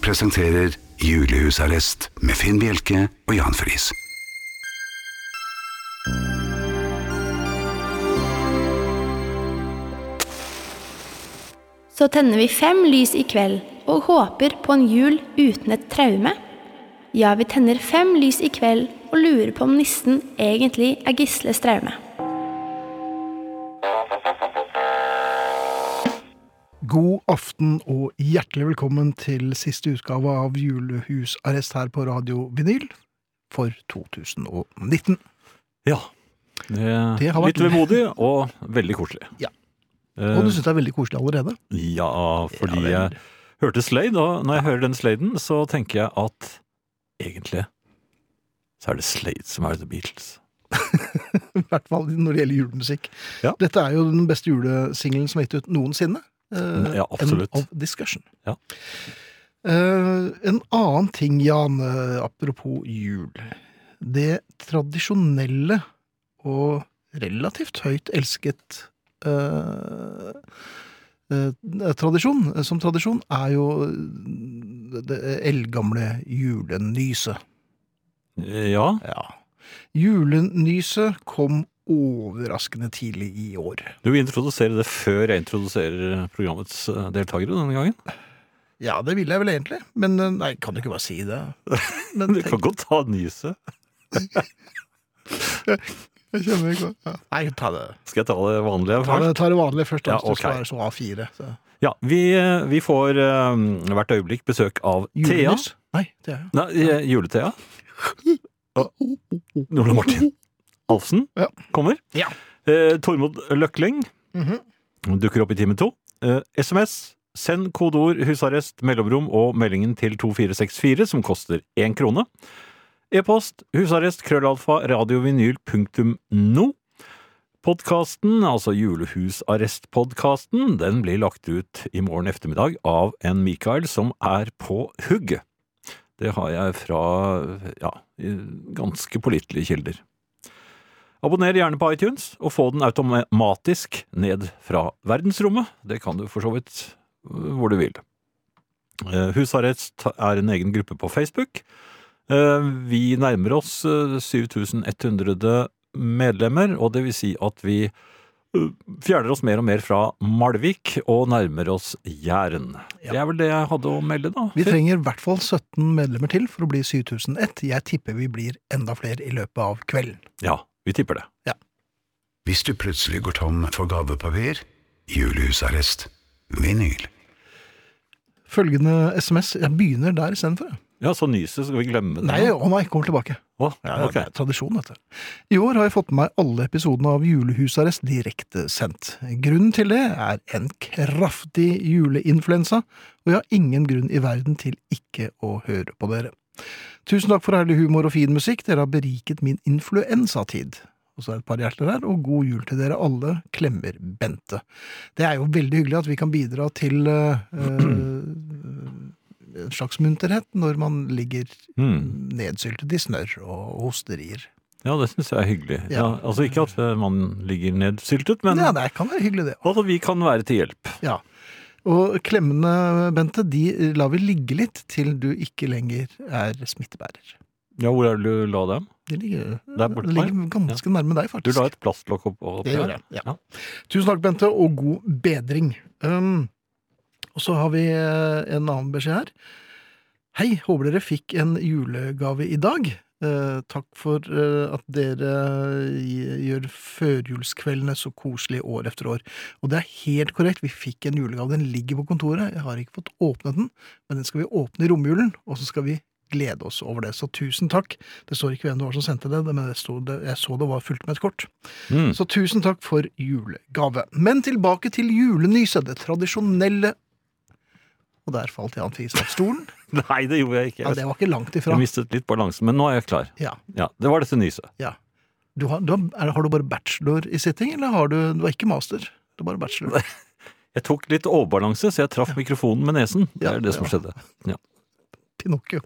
presenterer Julehusarrest med Finn Bjelke og Jan Friis. Så tenner vi fem lys i kveld og håper på en jul uten et traume. Ja, vi tenner fem lys i kveld og lurer på om nissen egentlig er Gisles traume. God aften og hjertelig velkommen til siste utgave av Julehusarrest her på Radio Vinyl for 2019. Ja. Det, Det har vært- litt vemodig og veldig koselig. Ja. Eh, Og du syns det er veldig koselig allerede? ja, fordi Ja vel. jeg hørte Slade, og når jeg hører den Sladen, så tenker jeg at egentlig så er det Slade som er The Beatles. I hvert fall når det gjelder julemusikk. Ja. Dette er jo den beste julesingelen som er gitt ut noensinne. Eh, Ja, absolutt. End of discussion. Ja. Eh, en annen ting, Jan, eh, apropos jul. Det tradisjonelle og relativt høyt elsket eh, eh, tradisjon, eh, som tradisjon, er jo eh, det- det eldgamle julenyset. Eh, Ja, Ja. Julenyset kom overraskende tidlig i år. du introduserer det før jeg introduserer programmets eh, deltakere denne gangen. Ja, det ville jeg vel egentlig, men eh, nei, kan du ikke bare si det? Men Du kan godt ta nyset. jeg kjenner ikke ja. Nei, ta det. Skal jeg ta det vanlige Ta det, først? ta det vanlige først, da, Ja, hvis det skal ok. være så A4. Så. Ja, vi, eh, vi får eh, hvert øyeblikk besøk av Thea. Julenys? Nei, Thea. ja. Nei, eh, Jule-Thea. Ole Martin Alfsen Ja. kommer. Ja. Eh, Tormod Løkling Mhm. dukker opp i time to. Eh, SMS. Send kodeord 'husarrest', mellomrom og meldingen til 2464, som koster én krone. E-post husarrest krøllalfa radiovinyl.no. Podkasten, altså Julehusarrestpodkasten, den blir lagt ut i morgen ettermiddag av en Mikael som er på hugget. Det har jeg fra ja, ganske pålitelige kilder. Abonner gjerne på iTunes, og få den automatisk ned fra verdensrommet. Det kan du for så vidt øh, hvor du vil. Eh, Husarrest er en egen gruppe på Facebook. Eh, Vi nærmer oss eh, 7100 medlemmer, og det vil si at vi øh, fjerner oss mer og mer fra Malvik og nærmer oss Jæren. Ja. Det er vel det jeg hadde å melde, da. Vi trenger i hvert fall 17 medlemmer til for å bli 7001. Jeg tipper vi blir enda flere i løpet av kvelden. Ja, vi tipper det. Hvis du plutselig går tom for gavepapir, Julehusarrest. Vinyl. Følgende SMS Jeg begynner der istedenfor. jeg. Ja, så nyset skal vi glemme det. Nei, å nei, kommer tilbake. Å, Ja, ok. det er tradisjon, dette. I år har jeg fått med meg alle episodene av Julehusarrest direktesendt. Grunnen til det er en kraftig juleinfluensa, og jeg har ingen grunn i verden til ikke å høre på dere. Tusen takk for herlig humor og fin musikk, dere har beriket min influensatid. Og så er det et par hjerter her, og god jul til dere alle, klemmer Bente. Det er jo veldig hyggelig at vi kan bidra til eh, eh, en slags munterhet når man ligger Mm. nedsyltet i snørr og hosterier. Ja, det syns jeg er hyggelig. Ja. Ja. altså Ikke at eh, man ligger nedsyltet, men ja, det kan være hyggelig, det. altså, vi kan være til hjelp. Ja. Og klemmene, Bente, de lar vi ligge litt til du ikke lenger er smittebærer. Ja, Hvor er det du la dem? De ligger, Der borte de ligger ganske nærme deg, Du faktisk. la et plastlokk opp, opp Det gjorde jeg, ja. Ja. Tusen takk, Bente, og god bedring. Um, og så har vi eh, en annen beskjed her. Hei, håper dere fikk en julegave i dag. Eh, takk for eh, at dere gi- gjør førjulskveldene så koselige år etter år. Og det er helt korrekt, vi fikk en julegave. Den ligger på kontoret. Jeg har ikke fått åpnet den, men den skal vi åpne i romjulen, og så skal vi glede oss over det. Så tusen takk. Det står ikke hvem det var som sendte det, men det sto, det, jeg så det var fullt med et kort. Mm. Så tusen takk for julegave. Men tilbake til julenyset, det tradisjonelle Og der falt Jan Friis av stolen. Nei, det gjorde jeg ikke. Ja, det var ikke langt ifra. Jeg mistet litt balansen, men nå er jeg klar. Ja, Ja, Det var dette nyset. ja. Du har, du har, er, har du bare bachelor i sitting, eller har du Du har ikke master? Du har bare bachelor. Jeg tok litt overbalanse, så jeg traff mikrofonen med nesen. Det Ja, er det som ja. skjedde. Pinocchio.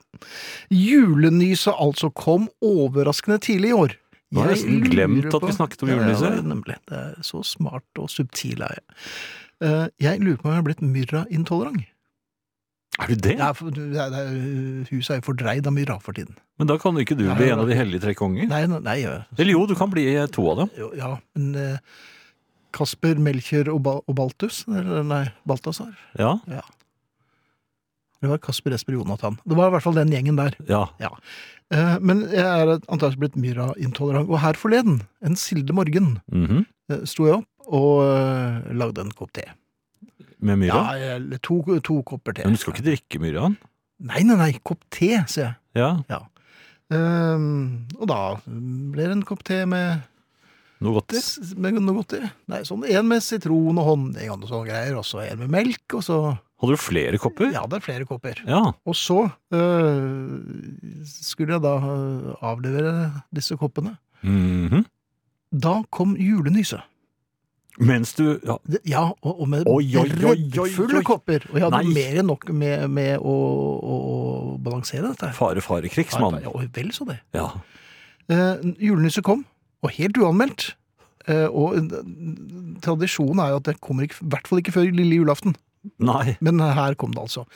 Julenyset altså kom overraskende tidlig i år. Nå har jeg nesten lurer glemt at på- vi snakket om Ja, julenissen. Ja, nemlig. Det er så smart og subtil er jeg. Eh, Jeg lurer på om jeg har blitt myrra-intolerant. Er du det? Ja, for, det er, det er, huset er jo fordreid av mye rart for tiden. Men da kan jo ikke du Nei, bli nei, en av de hellige tre konger. Nei, nei, ja. Eller jo, du kan bli to av dem. Jo, ja, men eh, Kasper, Melkjør og, ba og Baltus Eller nei, Balthazar. Ja, Det var Kasper, Esper og Jonathan. Det var i hvert fall den gjengen der. ja. Eh, men jeg er antakeligvis blitt myra-intolerant. Og her forleden, en silde morgen, mhm. eh, sto jeg opp og eh, lagde en kopp te. Med myra. Ja, eller to, to kopper te. Men du skal ikke drikke myraen? Nei, nei, nei. Kopp te, sier jeg. Ja, Ehm, og da blir det en kopp te med, noe godt i? med noe godt i. Nei, sånn En med sitron og honning og noe sånne greier, og så en med melk, og så Hadde du flere kopper? Ja, det er flere kopper. Ja. Og så øh, skulle jeg da øh, avlevere disse koppene. Mhm. Da kom julenyset. Mens du ja. Det- Ja, og, og med Oi, oi, oi, oi, oi. rødfulle kopper. Og jeg hadde Nei. mer enn nok med, med å, å, å balansere dette. her. Fare, fare, krigsmann. Ja, vel så det. Ja. Eh, julenissen kom, og helt uanmeldt. Eh, og eh, tradisjonen er jo at det kommer ikke, i hvert fall ikke før lille julaften. Nei. Men her kom det altså.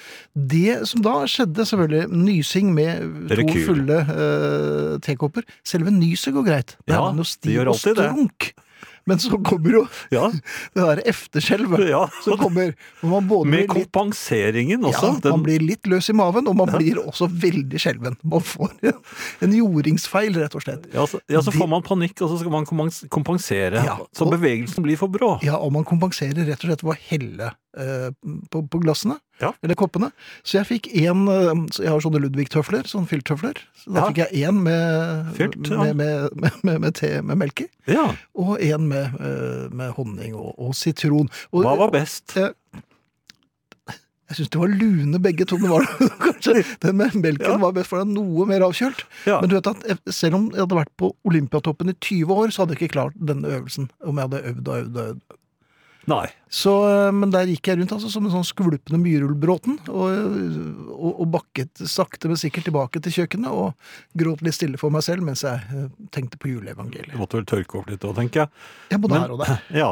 Det som da skjedde, selvfølgelig, nysing med to Rekyl. fulle eh, tekopper. Selve nyset går greit. Der Ja, er man jo det stiv gjør og alltid det. strunk. Men så kommer jo Ja. det der efterskjelvet. ja. Som kommer. hvor man både Med blir litt kompenseringen også. ja, Man blir litt løs i maven, og man blir også veldig skjelven. Man får en, en jordingsfeil, rett og slett. Ja, så, ja, så Det- får man panikk, og så skal man kompens- kompensere. Ja, Så og- bevegelsen blir for brå. Ja, og man kompenserer rett og slett ved å helle eh, på, på glassene, Ja. eller koppene. Så jeg fikk én eh, så Jeg har sånne Ludvig-tøfler, sånne fylttøfler. Så da Ja. fikk jeg én med, Fylt, ja. med, med, med, med, med te med melk i, Ja. og én med, eh, med honning og, og sitron. Og Hva var best? eh, jeg syns det var lune begge to. men Var det, kanskje den med melken Ja. var best, for den er noe mer avkjølt. Ja. Men du vet at eh, selv om jeg hadde vært på Olympiatoppen i 20 år, så hadde jeg ikke klart denne øvelsen. Om jeg hadde øvd og øvd og øvd. Nei. Så, eh, men der gikk jeg rundt altså, som en sånn skvulpende myrullbråten, og, og, og bakket sakte, men sikkert tilbake til kjøkkenet, og gråt litt stille for meg selv mens jeg eh, tenkte på Du juleevangeliet. måtte vel tørke opp litt òg, tenker jeg. Jeg både Men- her og der. Ja,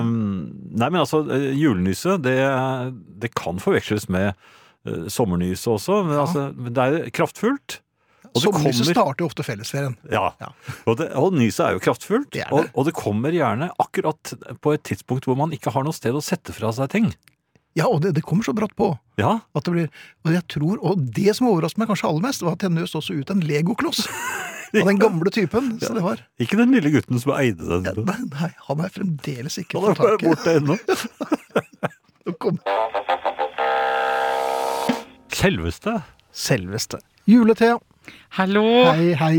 ehm, nei, men altså, eh, julenyse, det, det kan forveksles med uh, sommernyse også. Men, Ja. altså, men det er kraftfullt. Og det Sommerlyset kommer- starter jo ofte fellesferien. Ja. Ja. Og, det, og nyset er jo kraftfullt. Det er det. Og, og det kommer gjerne akkurat på et tidspunkt hvor man ikke har noe sted å sette fra seg ting. Ja, og det, det kommer så brått på. Ja, At det blir, og jeg tror, og det som overrasket meg kanskje aller mest, var at jeg nøst også ut en legokloss. Av den gamle typen. Så det var Ikke den lille gutten som eide den. ja, nei, nei, han er fremdeles ikke på Han er bare taket. borte ennå. Nå kom- Selveste. Selveste. Julete. Hallo! Hei, hei.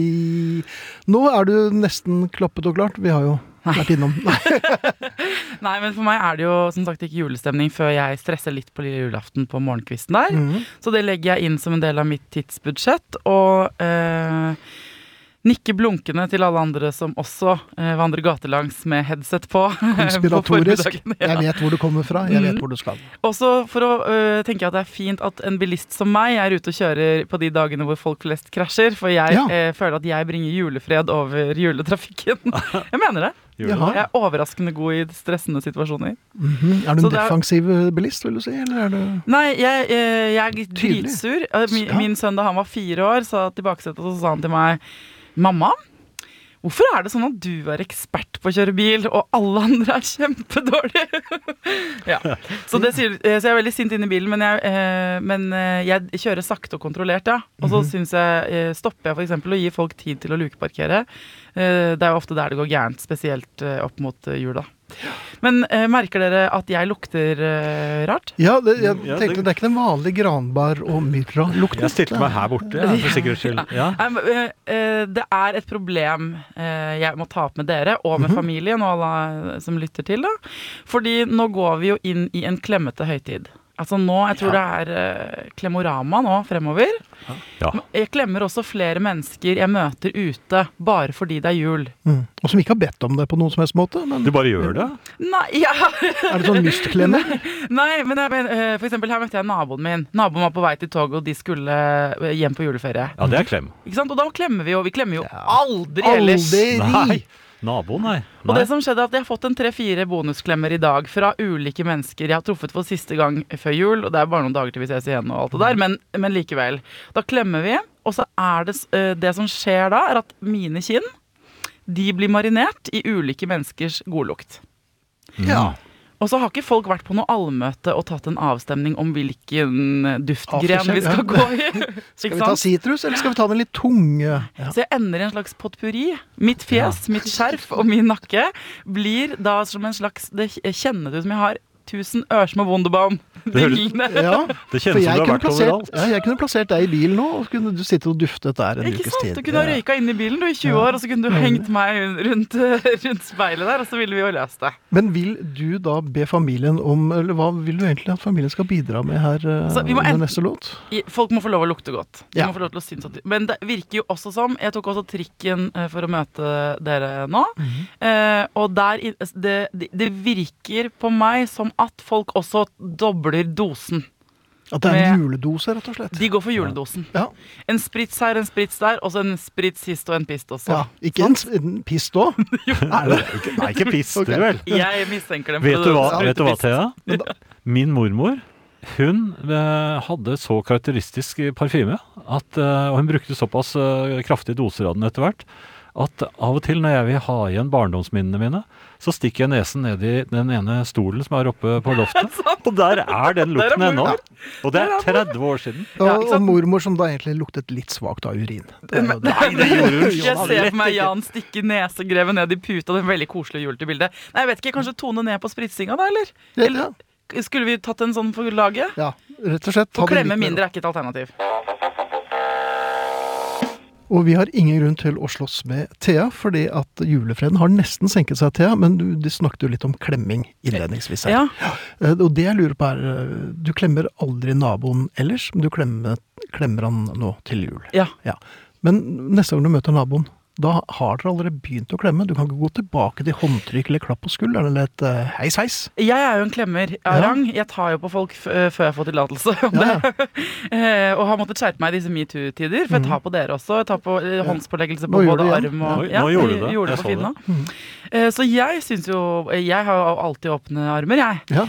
Nå er du nesten klappet og klart. Vi har jo vært innom. Nei. Nei, men for meg er det jo som sagt ikke julestemning før jeg stresser litt på lille julaften på morgenkvisten der. Mhm. Så det legger jeg inn som en del av mitt tidsbudsjett. Og eh, nikker blunkende til alle andre som også eh, vandrer gatelangs med headset på. på Konspiratorisk. formiddagen, Jeg ja. vet hvor du kommer fra, jeg vet Mhm. hvor du skal. Også for å eh, tenke at det er fint at en bilist som meg er ute og kjører på de dagene hvor folk flest krasjer, for jeg Ja. eh, føler at jeg bringer julefred over juletrafikken. jeg mener det. Jaha. Jeg er overraskende god i stressende situasjoner. Mhm. Er du Så en det er- defensiv bilist, vil du si? Eller er du Nei, jeg, eh, jeg er Tydelig. dritsur. Eh, Min, Ja. min sønn da han var fire år, sa til baksetet og så sa han til meg Mamma, hvorfor er det sånn at du er ekspert på å kjøre bil, og alle andre er kjempedårlige? ja. så, det sier, eh, så jeg er veldig sint inne i bilen, men jeg, eh, men eh, jeg kjører sakte og kontrollert, ja. Og så Mhm. synes jeg, eh, stopper jeg f.eks. og gir folk tid til å lukeparkere. Eh, det er jo ofte der det går gærent, spesielt eh, opp mot eh, jul, da. Men eh, merker dere at jeg lukter eh, rart? Ja, det, jeg Ja, tenkte det- det er ikke den vanlige granbar- og myrra-lukten. Jeg stilte meg her borte, jeg, for sikkerhets skyld. Ja. Nei, men, eh, eh, Det er et problem eh, jeg må ta opp med dere og med familien og alle eh, som lytter til. Da. Fordi nå går vi jo inn i en klemmete høytid. Altså nå, Jeg tror det er eh, klemorama nå fremover. Ja. Jeg klemmer også flere mennesker jeg møter ute, bare fordi det er jul. Mm. Og som ikke har bedt om det på noen som helst måte. Men Du bare gjør det? Nei, ja. er det sånn mystklemmer? Nei men jeg, men, eh, for eksempel her møtte jeg naboen min. Naboen var på vei til toget, og de skulle eh, hjem på juleferie. Ja, det er klem. Ikke sant? Og da klemmer vi jo. Vi klemmer jo aldri ellers. Aldri! Nei. Naboen, nei. Og nei. det som skjedde er at Jeg har fått en tre-fire bonusklemmer i dag fra ulike mennesker jeg har truffet for siste gang før jul. og Det er bare noen dager til vi ses igjen, og alt det Mm. der, men, men likevel. Da klemmer vi, og så er det s- eh, Det som skjer da, er at mine kinn de blir marinert i ulike menneskers godlukt. Ja. Og så har ikke folk vært på noe allmøte og tatt en avstemning om hvilken duftgren Aftershave, vi skal ja. gå i. Skal Ikke vi ta sant? sitrus, eller skal vi ta den litt tunge? Ja. Så jeg ender i en slags potpurri. Mitt fjes, mitt skjerf og min nakke blir da som en slags Det kjennes ut som jeg har tusen ørsmå Wunderbaum. Det høres- Dingene. Ja, Det for jeg kjennes som du har kunne, vært plassert, overalt. ja, jeg kunne plassert deg i bil nå, og så kunne du sitte og duftet der en Ikke ukes sant? tid. Du kunne ha Ja. røyka inn i bilen du i 20 år, og så kunne du hengt meg rundt, rundt speilet der, og så ville vi jo løst det. Men vil du da be familien om Eller hva vil du egentlig at familien skal bidra med her eh, Altså, vi må under enten- neste låt? I- Folk må få lov å lukte godt. De Ja. må få lov til å synes at Men det virker jo også som Jeg tok også trikken eh, for å møte dere nå. eh, og der i- det, det, det virker på meg som at folk også dobler dosen. At det er en Med- juledose, rett og slett? De går for juledosen. Ja. En sprits her, en sprits der, og så en sprits hist og en pist også. ja. Ikke en, s- en pist òg? Er det? Nei, ikke piss, Ok. det vel. Jeg mistenker dem. for Vet du det. hva, altså. Ja, vet du hva pist. Men Thea? da- Min mormor hun eh, hadde så karakteristisk parfyme, at, eh, og hun brukte såpass eh, kraftige doser av den etter hvert, at av og til når jeg vil ha igjen barndomsminnene mine, så stikker jeg nesen ned i den ene stolen som er oppe på loftet, og der er den Der er lukten ennå. mormor. Og det er 30 år siden. Ja, Og, ikke sant? og mormor som da egentlig luktet litt svakt av urin. Det er jo det. Jeg ser for meg Jan stikke nesegrevet ned i puta. Det er veldig koselig og julete bildet. Nei, jeg vet ikke, Kanskje tone ned på spritsinga, da? eller? Ja, Skulle vi tatt en sånn for laget? ja, rett og slett. ta Å det litt klemme mer mindre er ikke et alternativ. Og vi har ingen grunn til å slåss med Thea, fordi at julefreden har nesten senket seg, Thea. Men du, de snakket jo litt om klemming innledningsvis her. Ja. Eh, Og det jeg lurer på er eh, Du klemmer aldri naboen ellers, men du klemmer, klemmer han nå til jul. ja. Ja. Men neste gang du møter naboen, da har dere allerede begynt å klemme. Du kan ikke gå tilbake til håndtrykk eller klapp på skulderen eller et eh, heis, heis. Jeg er jo en klemmer av rang. Jeg tar jo på folk f eh, før jeg får tillatelse. om Ja, det. Eh, og har måttet skjerpe meg i disse metoo-tider, for jeg tar på dere også. Jeg tar på eh, håndspåleggelse på Mhm. Nå gjorde både du Mhm. igjen. arm og Nå- nå gjorde du det. jeg Gjorde Jeg det så på det. Finn nå. Eh, så jeg syns jo Jeg har jo alltid åpne armer, jeg. Eh, Ja.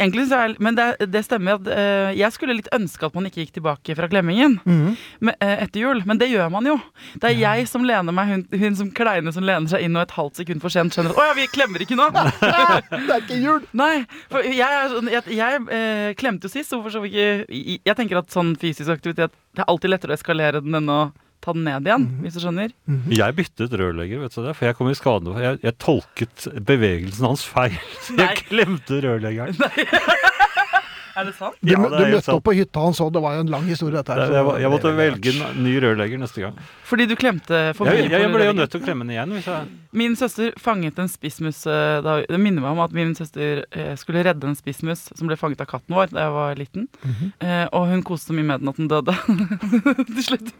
Egentlig så er, men det, det stemmer at eh, jeg skulle litt ønske at man ikke gikk tilbake fra klemmingen Mhm. men, eh, etter jul, men det gjør man jo. Det er jeg som lener meg, hun, hun som kleine som lener seg inn og et halvt sekund for sent skjønner at å ja, vi klemmer ikke nå. Det er ikke jul! Nei, for jeg, er sånn- jeg, jeg eh, klemte jo sist, så hvorfor skal vi ikke i- Jeg tenker at sånn fysisk aktivitet Det er alltid lettere å eskalere den enn å ta den ned igjen, Mhm. hvis du skjønner. Jeg byttet rørlegger, vet du det, for jeg kom i skade. for Jeg, jeg tolket bevegelsen hans feil. Så Nei. jeg klemte rørleggeren. Er det sant? Du, Ja, mø- det er du helt møtte sant. opp på hytta hans òg, det var jo en lang historie, dette her. Jeg, så- jeg, jeg måtte velge en ny rørlegger neste gang. Fordi du klemte forbi Jeg, jeg, på ble jo rødleggen. nødt til å klemme den igjen. Hvis jeg, Min søster fanget en spissmus eh, da, Det minner meg om at min søster eh, skulle redde en spissmus som ble fanget av katten vår da jeg var liten. Mhm. eh, og hun koste så mye med den at den døde til slutt.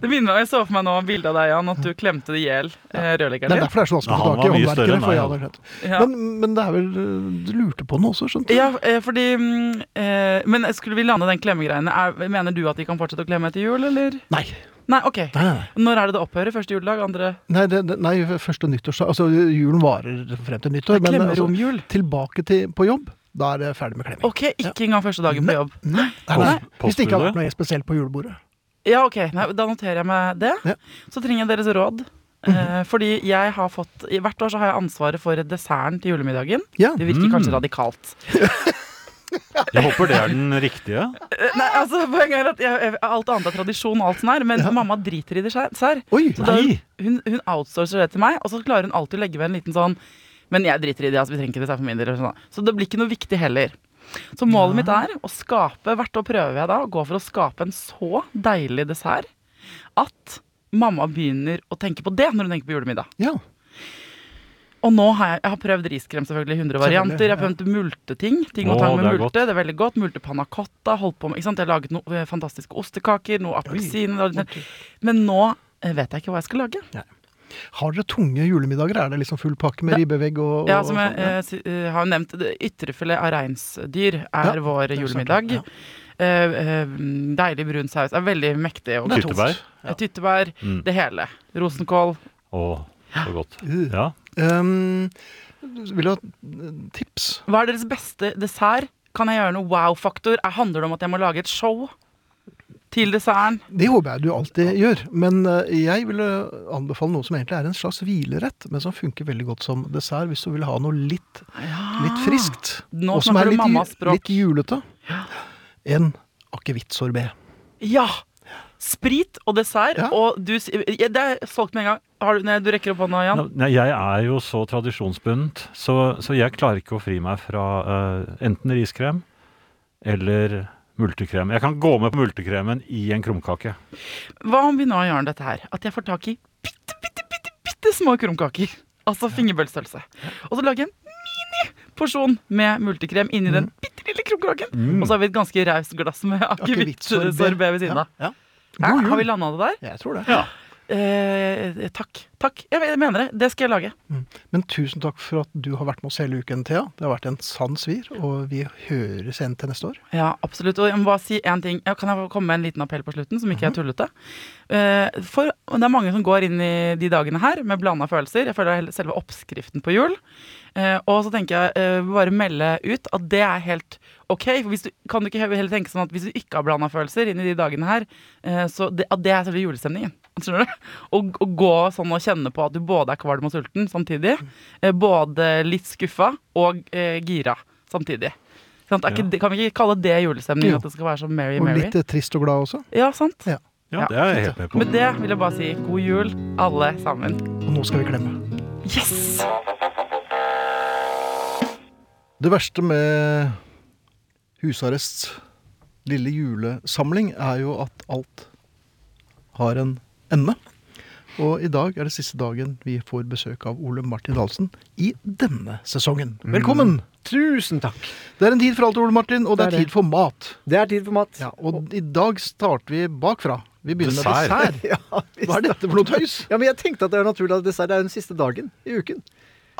Det minner meg, Jeg så for meg nå bildet av deg, Jan, at du klemte det i hjel eh, rørleggeren Det er din. derfor det er så vanskelig å Ja, få han tak i var mye håndverkere. større enn for meg, jeg han. hadde glemt. Ja. Men, men det er vel eh, Du lurte på noe også, skjønte du? Ja, eh, fordi mm, eh, Men skulle vi lande den klemmegreiene? Er, mener du at de kan fortsette å klemme etter jul, eller? Nei. Nei, OK. Nei, nei, nei. Når er det det opphører? Første juledag? Andre nei, det, det- nei første nyttårsdag Altså, julen varer frem til nyttår. Men altså, klemmeromjul? tilbake til, på jobb, da er det ferdig med klemming. OK, ikke engang første dagen Nei. på jobb. Nei, nei, Post- nei. Hvis det ikke har postbudet? vært noe spesielt på julebordet. Ja, OK. Nei, da noterer jeg meg det. Ja. Mhm. Så trenger jeg deres råd. Eh, fordi jeg har fått i- Hvert år så har jeg ansvaret for desserten til julemiddagen. Ja. Det virker kanskje radikalt. jeg håper det er den riktige. Eh, Nei, altså Poenget er at jeg, jeg, alt annet er tradisjon, og alt sånn her, men mamma driter i dessert. Oi! Så da, Nei. hun, hun outsourcer det til meg, og så klarer hun alltid å legge ved en liten sånn Men jeg driter i det, altså, vi trenger ikke dessert for min del. eller Sånn. Så det blir ikke noe viktig heller. Så målet mitt er å skape Hvert år prøver jeg da å gå for å skape en så deilig dessert at mamma begynner å tenke på det når hun tenker på julemiddag. Ja. Og nå har jeg, jeg har prøvd riskrem selvfølgelig, i 100 varianter. Jeg har prøvd multeting. Ting og Å, tang med det er multe. godt. Det er veldig godt. Multepanna cotta. Holdt på med, ikke sant? Jeg har laget noen fantastiske ostekaker, noe appelsin Men nå eh, vet jeg ikke hva jeg skal lage. Har dere tunge julemiddager? Er det liksom full pakke med Det- ribbevegg og, og Ja, som jeg sånn? Ja. eh, si- eh, har jo nevnt, det- ytrefilet av reinsdyr er Ja, vår det er sant, julemiddag. ja. Eh, eh, deilig brun saus er veldig mektig. Og Det er Mm. godt. Tyttebær. Eh, Tyttebær, det hele. Rosenkål. Og Så godt. Uh. Ja. Um, vil du ha eh, tips? Hva er deres beste dessert? Kan jeg gjøre noe wow-faktor? Er- Handler det om at jeg må lage et show til desserten? Det håper jeg du alltid gjør, men eh, jeg ville anbefale noe som egentlig er en slags hvilerett, men som funker veldig godt som dessert hvis du vil ha noe litt, litt friskt. Nå og som snakker er du litt, ju- mammas språk. litt julete. En akevittsorbé. Ja! Sprit og dessert. Ja. Og du, s- ja, det er solgt med en gang. Har du, nei, du rekker opp hånda, Jan. Nei, jeg er jo så tradisjonsbundet, så, så jeg klarer ikke å fri meg fra eh, enten riskrem eller multekrem. Jeg kan gå med på multekremen i en krumkake. Hva om vi nå gjør dette her? At jeg får tak i bitte, bitte, bitte, bitte små krumkaker. Altså fingerbølstørrelse. Og så lage en mini-porsjon med multekrem inni den Mm. bitte lille krumkaken. Og så har vi et ganske raust glass med Akevittsorbet. akevittsorbet ved siden av. Ja. Hæ? God jul. Har vi landa det der? Jeg tror det. Eh, takk. Takk. Jeg jeg mener det. Det skal jeg lage. Men tusen takk for at du har vært med oss hele uken, Thea. Det har vært en sann svir, og vi høres igjen til neste år. Ja, absolutt. Og jeg må bare si en ting. Ja, Kan jeg komme med en liten appell på slutten, som ikke er tullete? Eh, For det er mange som går inn i de dagene her med blanda følelser. Jeg føler det er hele- selve oppskriften på jul. Eh, Og så tenker jeg eh, bare melde ut at det er helt OK. For hvis du, kan du ikke he- heller tenke sånn at hvis du ikke har blanda følelser inn i de dagene her, eh, så det, at det er selve julestemningen. Skjønner du? Å, å gå sånn og kjenne på at du både er kvalm og sulten samtidig. eh, Både litt skuffa og eh, gira samtidig. Sant? Er ikke, det- Kan vi ikke kalle det julestemning? Jo. At det skal være så Mary Og Mary? litt eh, trist og glad også. Ja, sant? Ja. Ja, Ja. det er jeg helt med på. Med det vil jeg bare si god jul, alle sammen. Og nå skal vi klemme. Yes! Det verste med husarrests lille julesamling er jo at alt har en ende. Og i dag er det siste dagen vi får besøk av Ole Martin Dahlsen i denne sesongen. Mm. Velkommen! Tusen takk. Det er en tid for alt, Ole Martin, og det er Det er det. tid for mat. Det er tid for mat. Ja, og i dag starter vi bakfra. Vi begynner med Dessert. dessert. Ja, visst. Hva er dette for noe tøys? Ja, men jeg tenkte at det er naturlig at dessert er den siste dagen i uken.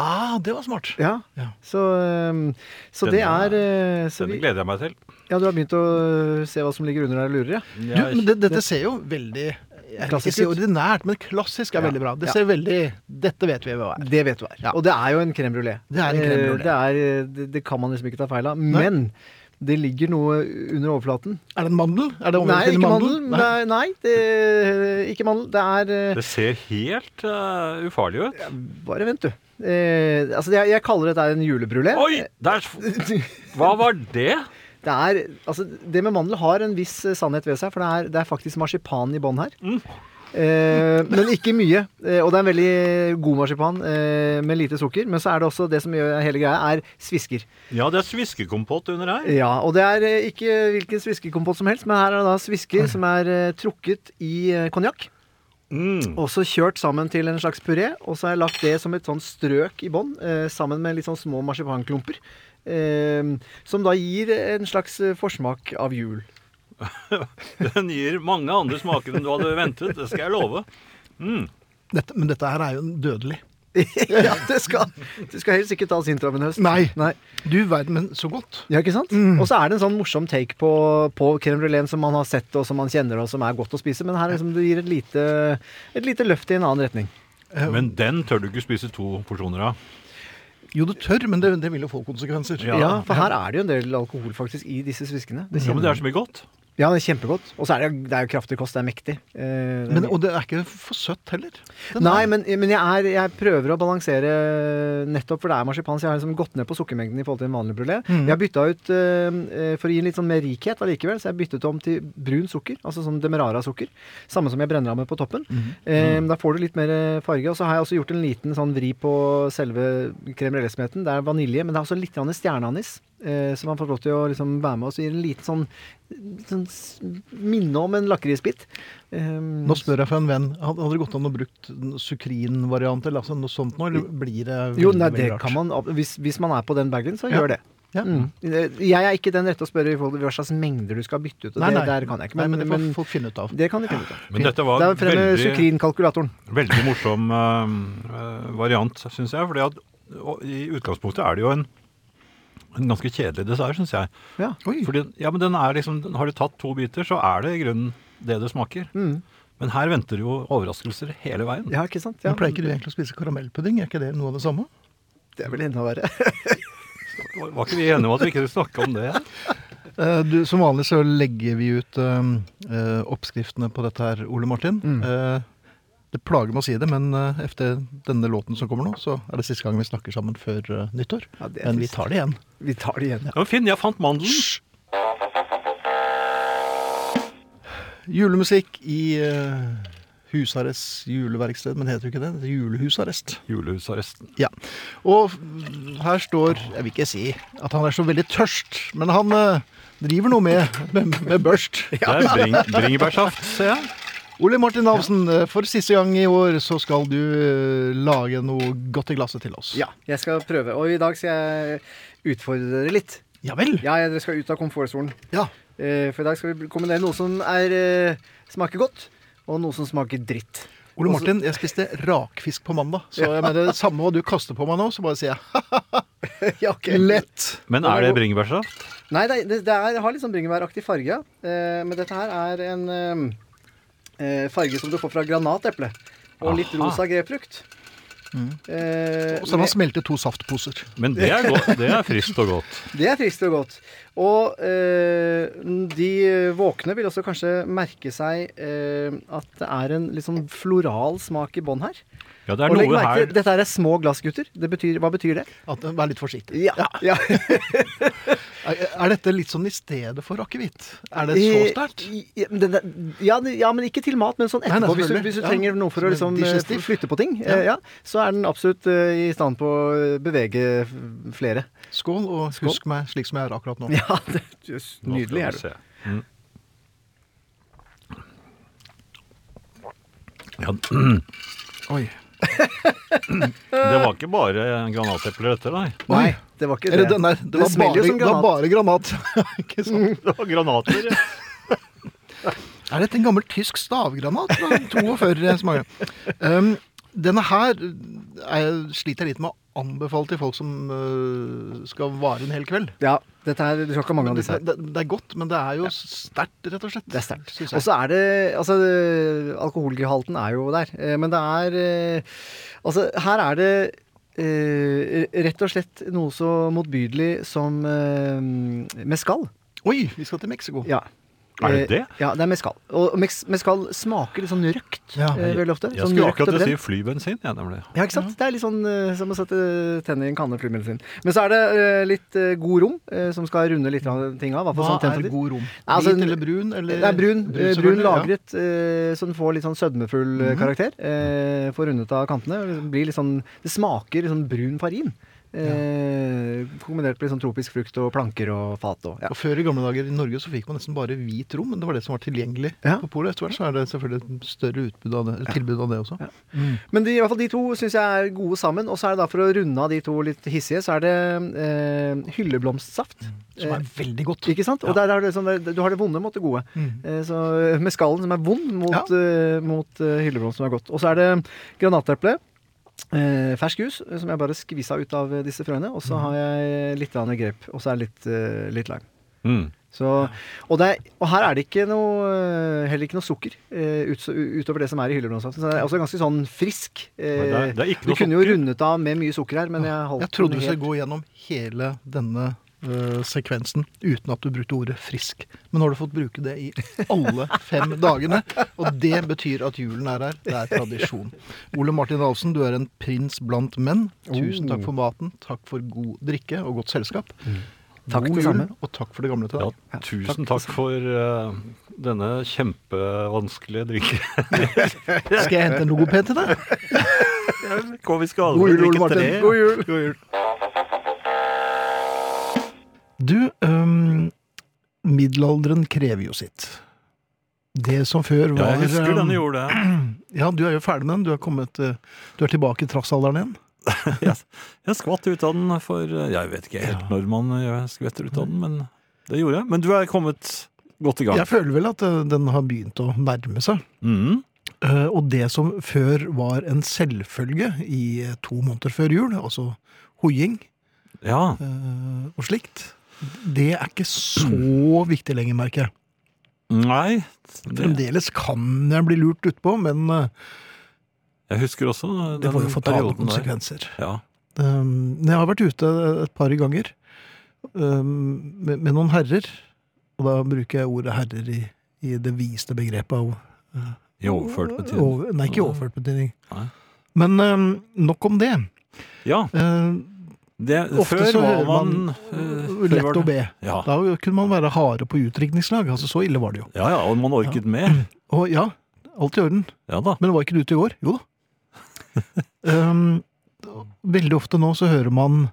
Ah, det var smart. Ja. Ja. Så, øhm, så Denne- det er øh, så Denne vi, gleder jeg meg til. Ja, du har begynt å øh, se hva som ligger under der og lurer, ja? Du, men det, dette ser jo veldig jeg vil ikke Klassisk si ut. ordinært, men klassisk er Ja. veldig bra. Det Ja. ser veldig Dette vet vi hva er. Det vet du er. Ja. Og det er jo en crème brulé. Det er en crème brûlée. Eh, Det, er, øh, det, det kan man liksom ikke ta feil av. Men det ligger noe under overflaten. Er det en mandel? Er det Nei, omvendt til ikke mandel. mandel? Nei, nei det, ikke mandel. Det er øh, Det ser helt eh, ufarlig ut. Bare vent, du. Eh, altså, jeg, jeg kaller dette en julebrulé. Oi! Der, hva var det? Det, er, altså, det med mandel har en viss eh, sannhet ved seg, for det er, det er faktisk marsipan i bånn her. Eh, men ikke mye. Eh, og det er en veldig god marsipan eh, med lite sukker. Men så er det også det som gjør hele greia, er svisker. Ja, det er sviskekompott under her. Ja, Og det er eh, ikke hvilken sviskekompott som helst, men her er det da svisker som er eh, trukket i eh, konjakk. Mm. Og så kjørt sammen til en slags puré, og så har jeg lagt det som et sånn strøk i bånn, eh, sammen med litt sånn små marsipanklumper. Eh, som da gir en slags eh, forsmak av jul. Den gir mange andre smaker enn du hadde ventet, det skal jeg love. Dette, men dette her er jo en dødelig. ja, det skal, det skal helst ikke tas intraven i høst. Nei. Mm. Nei. Du verden, men så godt. Ja, ikke sant? Og så er det en sånn morsom take på, på crème brulén som man har sett, og som man kjenner, og som er godt å spise, men her liksom, det gir et lite, et lite løft i en annen retning. Men den tør du ikke spise to porsjoner av. Jo, du tør, men det, det vil jo få konsekvenser. Ja, for her er det jo en del alkohol faktisk i disse sviskene. Det Ja, men det kjenner er så mye godt. man. ja, det er kjempegodt. Og så er det, jo- det er jo kraftig kost, det er mektig. Eh, det er Men, mye. og det er ikke for søtt heller. Den Nei, er- men, men jeg, er, jeg prøver å balansere nettopp, for det er marsipan, så jeg har liksom gått ned på sukkermengden i forhold til en vanlig brulé. Jeg har bytta ut, eh, eh, for å gi litt sånn mer rikhet allikevel, så jeg har byttet om til brun sukker, altså sånn demerara-sukker. Samme som jeg brenner av med på toppen. Eh, da får du litt mer eh, farge. Og så har jeg også gjort en liten sånn vri på selve crème brulé-smeten. Det er vanilje, men det er også litt grann stjerneanis. eh, Som man får lov til å liksom være med og så gir en liten sånn, sånn s- minne om en lakrisbit. Um, Nå spør jeg for en venn. Had- Hadde det gått an å brukt en sukrinvariant eller altså noe sånt nå? Eller blir det Jo, veldig, nei, veldig det rart? kan man, ab- hvis, hvis man er på den bagen, så Ja. gjør det. Ja. Mm. Jeg er ikke den rette å spørre i forhold til hva slags mengder du skal bytte ut. og Nei, det, nei. Der kan jeg ikke, Nei, men, men det får men, folk finne ut av. det kan du finne ut av. Men dette var Det er frem med veldig, sukrinkalkulatoren. veldig morsom eh, eh, variant, syns jeg. Fordi at og i utgangspunktet er det jo en, en ganske kjedelig dessert, syns jeg. Ja. Oi. Fordi, ja, men den er liksom, den- Har du tatt to biter, så er det i grunnen det det smaker. Men her venter jo overraskelser hele veien. Mm. Ja, ikke sant? Ja. Men pleier ikke du egentlig å spise karamellpudding? Er ikke det noe av det samme? Det er vel enda verre. Var var ikke vi enige om at vi ikke skulle snakke om det? Eh, Du, som vanlig så legger vi ut eh, eh, oppskriftene på dette her, Ole Martin. Mm. Eh, det plager meg å si det, men eh, etter denne låten som kommer nå, så er det siste gang vi snakker sammen før eh, nyttår. Ja, det er men vi trist. tar det igjen. Vi tar det igjen, ja. Ja, men Finn, jeg fant mandelen. Julemusikk i eh, Husarrest juleverksted, men heter jo ikke det? det heter julehusarrest. Julehusarresten. Ja. Og f- her står Jeg vil ikke si at han er så veldig tørst, men han eh, driver noe med, med, med børst. Det er bring, bringebærsaft, ser jeg. Ole Martin Navsen, eh, for siste gang i år så skal du eh, lage noe godt i glasset til oss. Ja, jeg skal prøve. Og i dag skal jeg utfordre dere litt. Ja vel? Ja, jeg- dere skal ut av komfortsonen. Ja. Eh, For i dag skal vi kombinere noe som er, eh, smaker godt, og noe som smaker dritt. Ole Også- Martin, jeg spiste rakfisk på mandag, så jeg mener, samme hva du kaster på meg nå, så bare sier jeg Ja, ok. lett. Men er det bringebærsaft? Nei, det, det, det er, har litt sånn bringebæraktig farge. ja. Eh, men dette her er en eh, eh, farge som du får fra granateple. Og litt Aha. Mm. rosa grepfrukt. Eh, Og så har han med- smelte to saftposer. Men det er, godt, det er friskt og godt. det er friskt og godt. Og eh, de våkne vil også kanskje merke seg eh, at det er en litt sånn floral smak i bånn her. Ja, det er og legg noe merke her til, dette her er små glass, gutter. Det betyr, hva betyr det? At, eh, vær litt forsiktig. Ja. ja. Er er dette litt sånn i stedet for akevitt? Er det Eh, så sterkt? Ja, men det- det- Ja, det- ja, men ikke til mat, men sånn Nei, nei, etterpå. hvis, du, selvfølgelig. hvis du Ja. trenger noe for å Som liksom, en eh, digestiv. flytte på ting, eh, ja, så er den absolutt eh, i stand på å bevege f- flere. Skål, og husk meg slik som jeg er akkurat nå. Ja, det, just, Nå skal nydelig er vi du. se. Mm. Ja, Oi. det var ikke bare granatepler dette, nei. Nei, det var ikke Eller det. den der, det, var smeller bare, jo som det var granat. bare granat. Ikke sant? Det var granater. Er dette en gammel tysk stavgranat fra 42 som er um, Denne her er, sliter jeg litt med å anbefale til folk som øh, skal vare en hel kveld. Ja, dette her, du skal ikke ha mange av Det, disse her. det, det er godt, men det er jo sterkt, rett og slett. Det er sterkt. synes jeg. Og så er det Altså, øh, alkoholgehalten er jo der. Eh, Men det er øh, Altså, her er det øh, rett og slett noe så motbydelig som øh, mescal. Oi, vi skal til Mexico. Ja. Er det Eh, det? Ja, det er mescal. Og mex- mescal smaker litt sånn røkt Ja. eh, veldig ofte. Jeg Sånn skulle røkt og akkurat brent. si flybensin, jeg, nemlig. Ja, ikke sant? Det er litt sånn eh, som å sette tennene i en kanne flybensin. Men så er det eh, litt eh, god rom eh, som skal runde litt av ting av. i hvert fall Hva sånn er temperatur. god rom? Hvit Altså, den- eller brun? Eller? Det er brun, eh, brun selvfølgelig, ja. lagret, eh, så den får litt sånn sødmefull eh, karakter. Eh, får rundet av kantene. og det Blir litt sånn, det smaker litt sånn brun farin. Eh, kombinert med litt sånn tropisk frukt og planker og fat og ja. Og Før i gamle dager i Norge så fikk man nesten bare hvit rom, men det var det som var tilgjengelig Ja. på polet. Etter hvert så er det selvfølgelig et større utbud av det, tilbud av det også. Men de, i hvert fall de to syns jeg er gode sammen. Og så er det da for å runde av de to litt hissige, så er det eh, hylleblomstsaft. Mm, Som er veldig godt. Eh, Ikke sant? Og der, har du liksom, der, du har det vonde mot det gode. Eh, Så med skallen som er vond mot, Mm. Ja. eh, mot eh, hylleblom som er godt. Og så er det granateple. Eh, fersk jus, eh, som jeg bare skvisa ut av eh, disse frøene. Og så Mm. har jeg litt grann grep, og så er det litt, eh, litt lime. Mm. Så, og, det er, og her er det ikke noe, eh, heller ikke noe sukker eh, ut, utover det som er i hylleblomstsaften. Så det er også ganske sånn frisk. eh, Nei, det er- det er ikke du noe kunne jo rundet av med mye sukker her, men jeg holdt Jeg trodde den du helt- skulle gå gjennom hele denne øh, sekvensen uten at du brukte ordet 'frisk'. Men nå har du fått bruke det i alle fem dagene, og det betyr at julen er her. Det er tradisjon. Ole Martin Ahlsen, du er en prins blant menn. Tusen takk for maten, takk for god drikke og godt selskap. Mm. god Takk, det jul, samme. og takk for det gamle til Ja, deg. tusen takk for eh, denne kjempevanskelige drikken. Skal jeg hente en logoped til deg? Kom, vi skal God alle jul, Ole drikke Martin. tre. God jul. Du, øhm, middelalderen krever jo sitt. Det som før Ja, var jeg husker øhm, denne gjorde det. Ja, du er jo ferdig med den. Du er, kommet, eh, du er tilbake i trassalderen igjen. jeg, jeg skvatt ut av den for eh, Jeg vet ikke helt når man eh, skvetter ut av den, men det gjorde jeg. Men du er kommet godt i gang. Jeg føler vel at eh, den har begynt å nærme seg. Mm. Eh, Og det som før var en selvfølge i eh, to måneder før jul, altså hoiing Ja. eh, og slikt, det er ikke så viktig lenger, merker jeg. Nei, det, Fremdeles kan jeg bli lurt utpå, men eh, jeg husker også den det får jo fatale perioden der. konsekvenser. Ja. Um, jeg har vært ute et par ganger um, med, med noen herrer, og da bruker jeg ordet herrer i, i det viste begrepet av I overført betydning. over, Nei, ikke i overført betydning. Nei. Men um, nok om det. Ja, Uh, det, ofte før så var hører man, man eh, før var lett å det- be. Ja. Da kunne man være harde på utdrikningslag. Altså, så ille var det jo. ja ja, og man orket mer. Og ja, alt i orden. Ja da. Men var ikke du ute i går? Jo da. Ehm, veldig ofte nå så hører man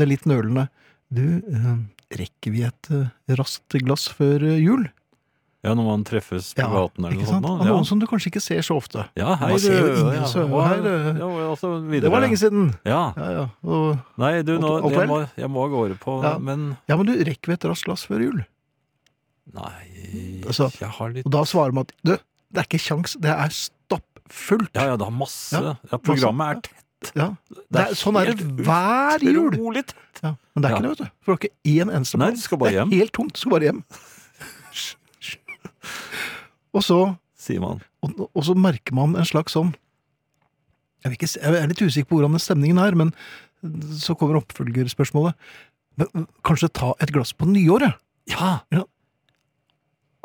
det litt nølende Du, ehm, rekker vi et eh, raskt glass før eh, jul? Ja, når man treffes på gaten eller ikke noe sant? sånt. Av da. noen som du kanskje ikke ser så ofte. Ja, hei, Man ser jo du, ingen, ja, så- og- her, eh, ja, og så videre. Det var lenge siden! Ja. Ja, ja. Og, Nei, du, nå, Alt jeg, vel? må, jeg må av gårde på Ja. Men ja, men du, rekker vi et raskt glass før jul? nei Altså, Jeg har litt Og da svarer man at du, det er ikke kjangs, det er stappfullt. Ja, ja, det har masse Ja, Ja, programmet er tett. Ja. Det er, sånn er det hver jul! Utrolig tett. Ja, men det er Ja. ikke det, vet du. For det er ikke én eneste Nei, mann. du skal bare Det er hjem. Helt tomt. Du skal bare hjem. Og så, Sier man. og, og så merker man en slags sånn jeg, vil ikke, si- jeg er litt usikker på hvordan den stemningen er, men så kommer oppfølgerspørsmålet. Men, kanskje ta et glass på nyåret? Ja!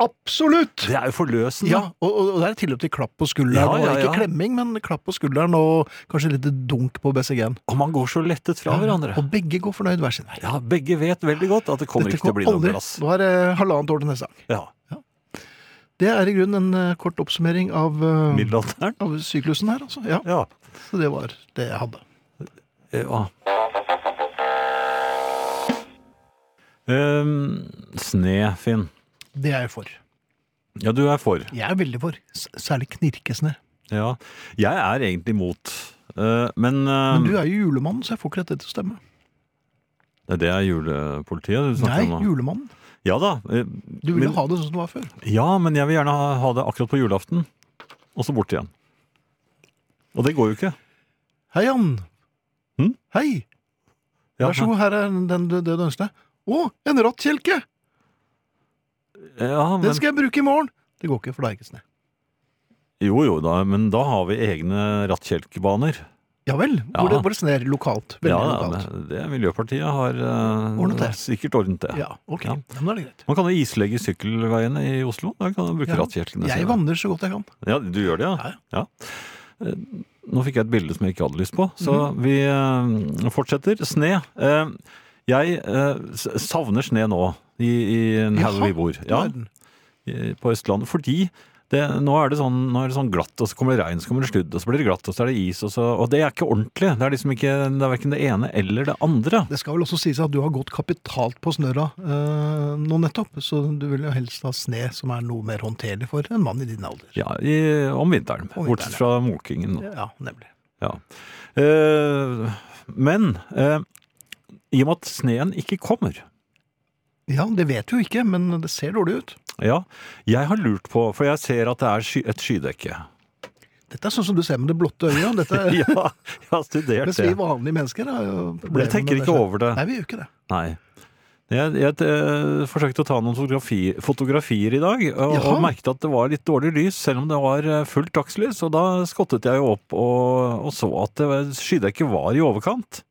Absolutt! Det er jo forløsende. Ja, og, og, og det er tilløp til klapp på skulderen. Ja, ja, og ikke ja. klemming, men klapp på skulderen og kanskje litt dunk på BCG-en. Og man går så lettet fra hverandre. Og begge går fornøyd hver sin vei. Ja, Begge vet veldig godt at det kommer Dette ikke til å kommer bli noe aldri. glass. Nå er det eh, halvannet år til neste gang. Ja, Det er i grunnen en eh, kort oppsummering av, eh, Middelalderen. av syklusen her, altså. Ja, Ja. så det var det jeg hadde. ja. Um, sne, Finn. Det er jeg for. Ja, du er for. Jeg er veldig for. S særlig knirkesnø. Ja. Jeg er egentlig imot. Eh, men eh, Men du er jo julemannen, så jeg får ikke dette til å stemme. det er det er julepolitiet du Nei, snakker om nå? julemannen. Ja da. eh, Du ville men, ha det sånn som det var før. Ja, men jeg vil gjerne ha, ha det akkurat på julaften, og så bort igjen. Og det går jo ikke. Hei, Jan. Hm? Hei. Ja, Vær så god, her er den, den, det du ønsker deg. Å, en rattkjelke! Ja, men, Den skal jeg bruke i morgen! Det går ikke, for det er ikke snø. Jo jo, da, men da har vi egne rattkjelkebaner. Ja vel. Hvor, Ja. det, hvor det sner lokalt. Veldig Ja, lokalt. men det Miljøpartiet har eh, Ordnet det. sikkert ordnet det. Ja, ok. Ja. Ja. Men da er det greit. Man kan jo islegge sykkelveiene i Oslo. Da kan man bruke Ja. rattkjelkene. Jeg sine. vandrer så godt jeg kan. Ja, du gjør det, ja? ja. Eh, Nå fikk jeg et bilde som jeg ikke hadde lyst på, så vi eh, fortsetter. Sne. Eh, jeg eh, s- savner sne nå, i, i en haug vi bor. Ja, verden. i- på Østlandet. Fordi det, nå, er det sånn, nå er det sånn glatt, og så kommer det regn, så kommer det sludd, og så blir det glatt, og så er det is, og så Og det er ikke ordentlig. Det er liksom ikke Det er verken det ene eller det andre. Det skal vel også sies at du har gått kapitalt på snørra eh, nå nettopp, så du vil jo helst ha sne som er noe mer håndterlig for en mann i din alder. Ja, i, om vinteren. Om Bortsett vinteren, fra mokingen. da. Ja, nemlig. Ja. Eh, men eh, i og med at sneen ikke kommer Ja, det vet vi jo ikke, men det ser dårlig ut. Ja, jeg har lurt på, for jeg ser at det er sky, et skydekke. Dette er sånn som du ser med det blotte øyet. Dette er, Ja, jeg har studert Mens vi det. vanlige mennesker har jo Jeg problemer tenker med det ikke selv. over det. Nei, vi gjør ikke det. Nei. Jeg, jeg eh, forsøkte å ta noen fotografi, fotografier i dag, og, Jaha. og merket at det var litt dårlig lys, selv om det var eh, fullt dagslys. Og da skottet jeg jo opp og, og så at det- skydekket var i overkant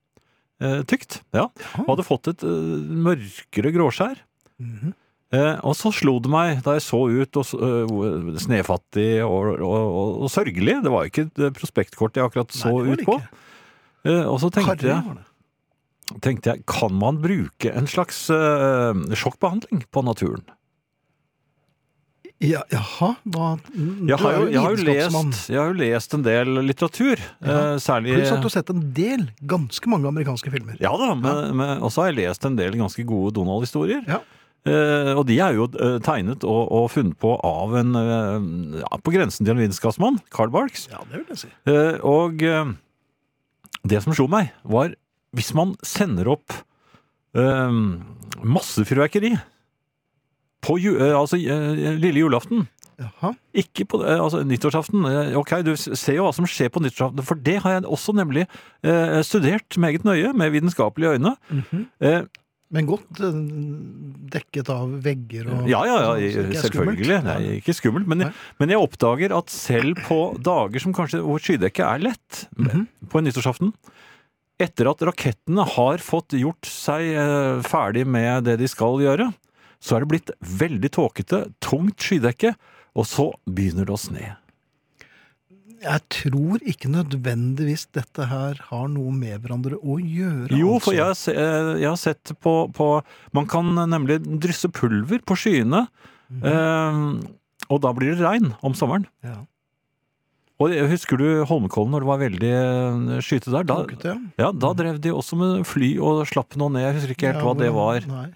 eh, tykt. Ja. Jaha. Og hadde fått et eh, mørkere gråskjær. Mhm. Eh, og så slo det meg, da jeg så ut og, s- øh, hvor snefattig og, og, og, og sørgelig Det var ikke et prospektkort jeg akkurat så Nei, ut det på. var det ikke. Eh, og så tenkte Karri jeg, var det. tenkte jeg, kan man bruke en slags øh, sjokkbehandling på naturen? Ja, jaha, da du Jeg har er jo, jeg har jo, vitenskapsmann. lest, jeg har jo lest en del litteratur, Ja. eh, særlig Pluss at du har sett en del, ganske mange amerikanske filmer. Ja da, men- men- og så har jeg lest en del ganske gode Donald-historier. Ja. Eh, og de er jo eh, tegnet og, og funnet på av en eh, ja, På grensen til en vitenskapsmann, Carl Barks. Ja, det vil jeg si. Eh, Og eh, det som slo meg, var hvis man sender opp eh, masse fyrverkeri på ju, eh, altså, eh, lille julaften Jaha. ikke på eh, altså, nyttårsaften. Eh, Ok, du s- ser jo hva som skjer på nyttårsaften, for Mhm. det har jeg også nemlig eh, studert meget nøye med vitenskapelige øyne. Eh, Men godt eh, dekket av vegger og Ja, ja, ja, sånn, så det ikke er selvfølgelig. skummelt. Nei, ikke skummelt. Men, Nei. men jeg oppdager at selv på dager som kanskje hvor skydekket er lett, Mhm. på nyttårsaften, etter at rakettene har fått gjort seg eh, ferdig med det de skal gjøre, så er det blitt veldig tåkete, tungt skydekke, og så begynner det å sne. Jeg tror ikke nødvendigvis dette her har noe med hverandre å gjøre. Jo, for altså. jeg, har se- eh, jeg har sett på, på Man kan nemlig drysse pulver på skyene, Mhm. eh, og da blir det regn om sommeren. ja. Og jeg Husker du Holmenkollen når det var veldig eh, skyte der? Da, Tåkete, ja. ja, da drev de også med fly og slapp noe ned. Jeg husker ikke helt Ja, hva det hvordan- var. Nei.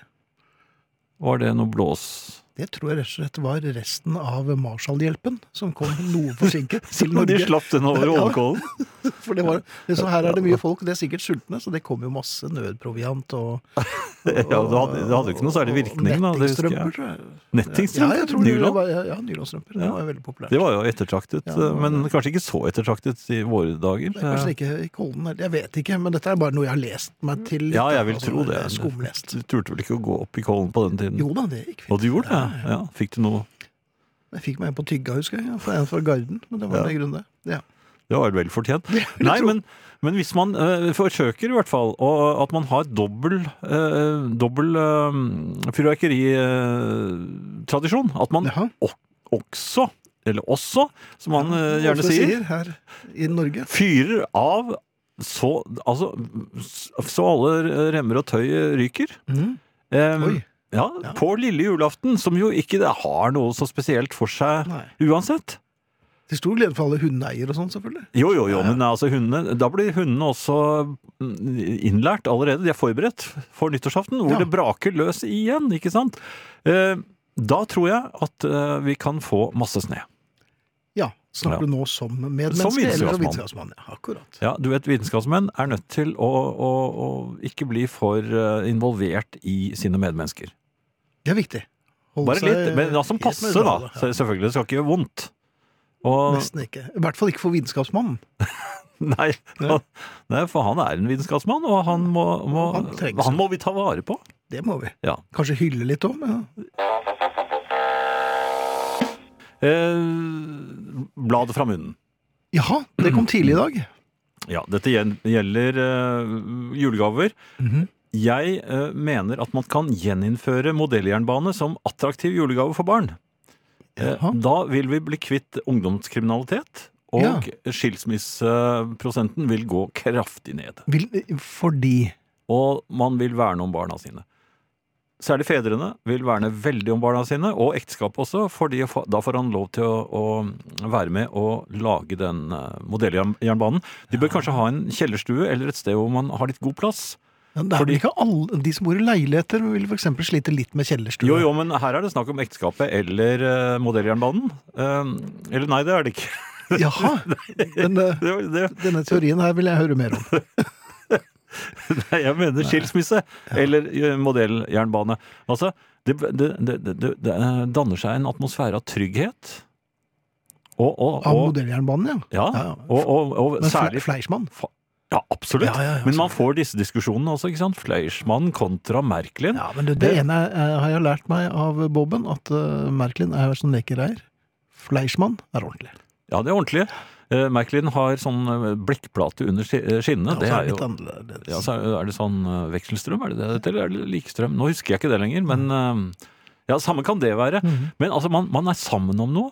Var det noe blås...? Det tror jeg rett og slett var resten av Marshallhjelpen, som kom noe forsinket til De Norge. slapp den over Ja. Holmenkollen? For det var, det, så her er det mye folk, det er sikkert sultne, så det kom jo masse nødproviant og Ja, det hadde, det hadde jo ikke noe særlig virkning, da. Det husker Nettingstrømper, jeg. tror jeg. Ja, jeg Nettingstrømper? tror det Nylon? var, ja, ja, nylonstrømper. Det Ja. var jo veldig populært. Det var jo ettertraktet, Ja, det var men kanskje ikke så ettertraktet i våre dager. Det er Kanskje ikke i Kollen, eller- jeg vet ikke, men dette er bare noe jeg har lest meg til. litt, Ja, jeg da, vil altså, tro det. Skumlest. Du turte vel ikke å gå opp i Kollen på den tiden? Jo da, det gikk fint. Og du gjorde det? Ja, ja. Ja, fikk du noe Jeg fikk meg en på Tygga, husker jeg. For en fra Garden. Men det var Ja. det grunnen, det. Ja. Det var vel fortjent. vil jeg Nei, tro. men, men hvis man eh, forsøker i hvert fall, og at man har dobbel, uh, dobbel eh, fyrverkeritradisjon, at man Jaha. ok- også, eller også, som man eh, Ofte gjerne sier, Her i Norge. fyrer av så, altså, så alle remmer og tøy ryker. Mhm. Eh, Oi. Ja, Ja. på lille julaften, som jo ikke har noe så spesielt for seg Nei. uansett. Til stor glede for alle hundeeiere og sånn, selvfølgelig. Jo, jo, jo, men altså hundene, da blir hundene også mm, innlært allerede. De er forberedt for nyttårsaften, hvor Ja. det braker løs igjen, ikke sant? Eh, da tror jeg at eh, vi kan få masse snø. Ja. Snakker du Ja. nå som medmenneske Som eller som vitenskapsmann. vitenskapsmann? Ja, akkurat. Ja, du vet, vitenskapsmenn er nødt til å, å, å ikke bli for eh, involvert i sine medmennesker. Det er viktig. Holde Bare seg litt, men altså som helt passer da. nøytrale. Så Selvfølgelig, det skal ikke gjøre vondt. Og, Nesten ikke. I hvert fall ikke for vitenskapsmannen. nei, Nei. nei, for han er en vitenskapsmann, og han må, må, Han trenger seg. han må vi ta vare på. Det må vi. Ja. Kanskje hylle litt òg, men Eh, bladet fra munnen. Jaha, det kom tidlig i dag. Ja, dette gjen- gjelder eh, julegaver. Mhm. Jeg eh, mener at man kan gjeninnføre modelljernbane som attraktiv julegave for barn. Eh, Jaha. da vil vi bli kvitt ungdomskriminalitet, og Ja. skilsmisseprosenten vil gå kraftig ned. Vil, fordi Og man vil verne om barna sine. Særlig fedrene vil verne veldig om barna sine, og ekteskapet også, fordi fa- da får han lov til å, å være med og lage den eh, modelljernbanen. De bør kanskje ha en kjellerstue eller et sted hvor man har litt god plass. ja, det er Fordi- vel ikke alle, De som bor i leiligheter, vil f.eks. slite litt med kjellerstue. Jo, jo, men her er det snakk om ekteskapet eller eh, modelljernbanen. Eh, eller nei, det er det ikke. Jaha. Men eh, Det, det, denne teorien her vil jeg høre mer om. nei, jeg mener skilsmisse eller eh, modelljernbane. Altså, det, det, det, det, det, det eh, danner seg en atmosfære av trygghet. Og, og, Av og, modelljernbanen, ja. ja, ja. og, og, og Men Fle- særlig Fleischmann? Ja, absolutt. Ja, ja, ja, men man får disse diskusjonene også, ikke sant? Fleischmann kontra Merkelin. Ja, men du, det, Det- ene eh, har jeg lært meg av Bobben, at eh, Merklin er som lekereier. Fleischmann er ordentlig. Ja, det er ordentlig. Eh, Merkelin har sånn eh, blikkplate under ski- eh, skinnene. Altså, det er jo litt annerledes. Ja, så er er det sånn eh, vekselstrøm, er det det det heter, eller er det likestrøm? Nå husker jeg ikke det lenger, men eh, ja, samme kan det være. Mhm. Men altså, man, man er sammen om noe.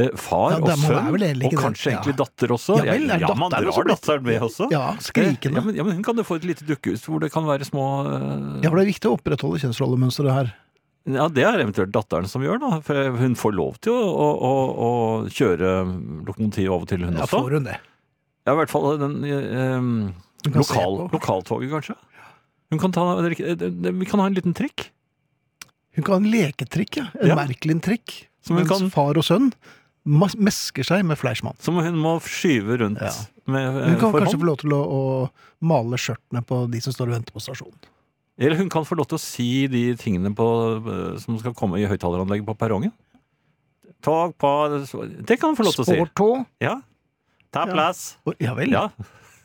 Eh, Far Ja, og det- man er sønn, vel egentlig og ikke det. kanskje Ja. egentlig datter også. Ja vel, er ja, man datteren også drar blitt- datteren med også. Eh, Ja, skrikende. Ja, men, ja, men hun kan jo få et lite dukkehus hvor det kan være små eh, Ja, for det er viktig å opprettholde kjønnsrollemønsteret her. Ja, det er eventuelt datteren som gjør, da. For hun får lov til å, å, å, å kjøre lokomotiv av og til, hun Ja, også. får hun det. Ja, i hvert fall den eh, Hun kan se lokal, på. lokaltoget, kanskje. Hun kan ta, vi kan ha en liten trikk. Hun kan ha en leketrikk, ja. En Ja. Merklin-trikk. Som hun Mens kan- far og sønn mas- mesker seg med Fleischmann. Som hun må skyve rundt Ja. med eh, Hun kan for kanskje hånd. få lov til å, å male skjørtene på de som står og venter på stasjonen. Eller hun kan få lov til å si de tingene på, eh, som skal komme i høyttaleranlegget på perrongen. Tog på Det kan hun få lov til å si. Sportå. Ja. Ta Ja. plass. Å, Ja vel. Ja.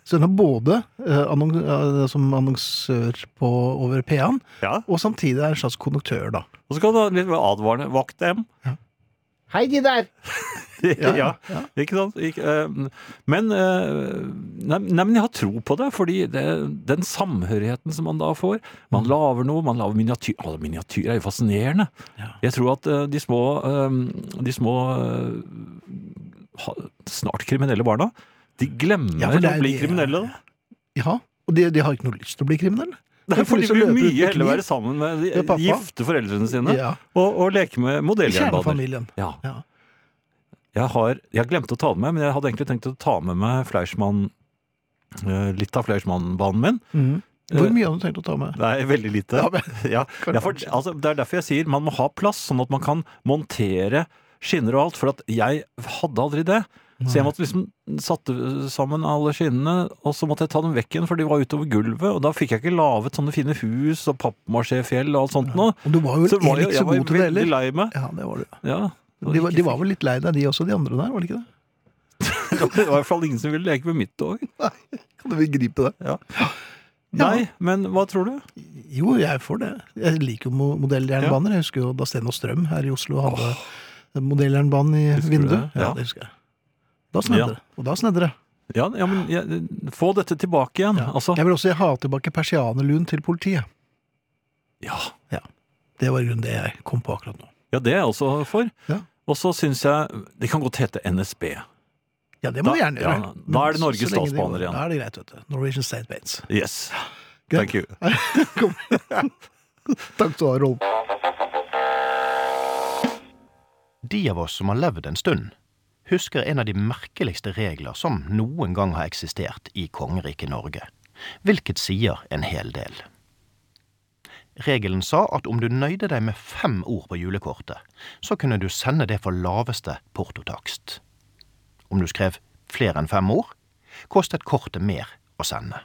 Så den er både eh, annon eh, som annonsør på, over P1, Ja. og samtidig er en slags konduktør, da. Og så kan du ha litt advarende Vakt dem! Hei, de der! ja, Ikke sant? Ikke, eh, men, eh, nei, nei, men jeg har tro på det, fordi det, den samhørigheten som man da får Man Mm. lager noe, man lager miniatyr. Alle miniatyrer er jo fascinerende. Ja. Jeg tror at eh, de små, eh, de små eh, ha, snart kriminelle barna, de glemmer Ja, for det er å bli de- kriminelle. da. Ja, Og de, de har ikke noe lyst til å bli kriminelle. Nei, for de så vil løper de ut mye med heller kniv. være sammen med de Med pappa. gifte foreldrene sine Ja, og, og leke med modelljernbaner. Kjernefamilien. Ja. Ja. Jeg har, jeg glemte å ta det med, men jeg hadde egentlig tenkt å ta med meg Fleischmann, eh, litt av Fleischmann-banen min. Mhm. Hvor Eh, mye hadde du tenkt å ta med? Nei, veldig lite. Ja, men- Ja, ja, for, altså, det er derfor jeg sier man må ha plass, sånn at man kan montere skinner og alt. For at jeg hadde aldri det. Så jeg måtte liksom satte sammen alle skinnene, og så måtte jeg ta dem vekk igjen, for de var utover gulvet. Og da fikk jeg ikke laget sånne fine hus og pappmasjéfjell og alt sånt noe. Og du var jo Så var vel jeg, ikke så jeg var god til det veldig heller. lei meg. Ja, det var du. Ja. De var, de var vel litt lei deg, de også, de andre der, var det ikke det? Det var i hvert fall ingen som ville leke med mitt tog. Kan du begripe det? Nei, men hva tror du? Jo, jeg får det. Jeg liker jo mo- modelljernbaner. Jeg husker jo da Sten og Strøm her i Oslo hadde modelljernbanen i Husker du vinduet. det? Ja. Ja, det husker jeg. Da snedde Ja. det. Og da snedde det. Ja, ja men jeg, få dette tilbake igjen. Ja. Altså, Jeg vil også ha tilbake persianelun til politiet. ja. Det var i grunnen det jeg kom på akkurat nå. ja, det er jeg også for. Ja. Og så syns jeg Det kan godt hete NSB. Ja, det må Da- du gjerne gjøre. ja, da er det Men Norges så lenge det statsbaner går, igjen. Da er det greit, vet du. Norwegian State Bates. Yes. Greit. Thank you. Kom. Takk skal du ha, Rolf. De av oss som har levd en stund, husker en av de merkeligste regler som noen gang har eksistert i kongeriket Norge, hvilket sier en hel del. Regelen sa at om du nøyde deg med fem ord på julekortet, så kunne du sende det for laveste portotakst. Om du skrev flere enn fem ord, kostet kortet mer å sende.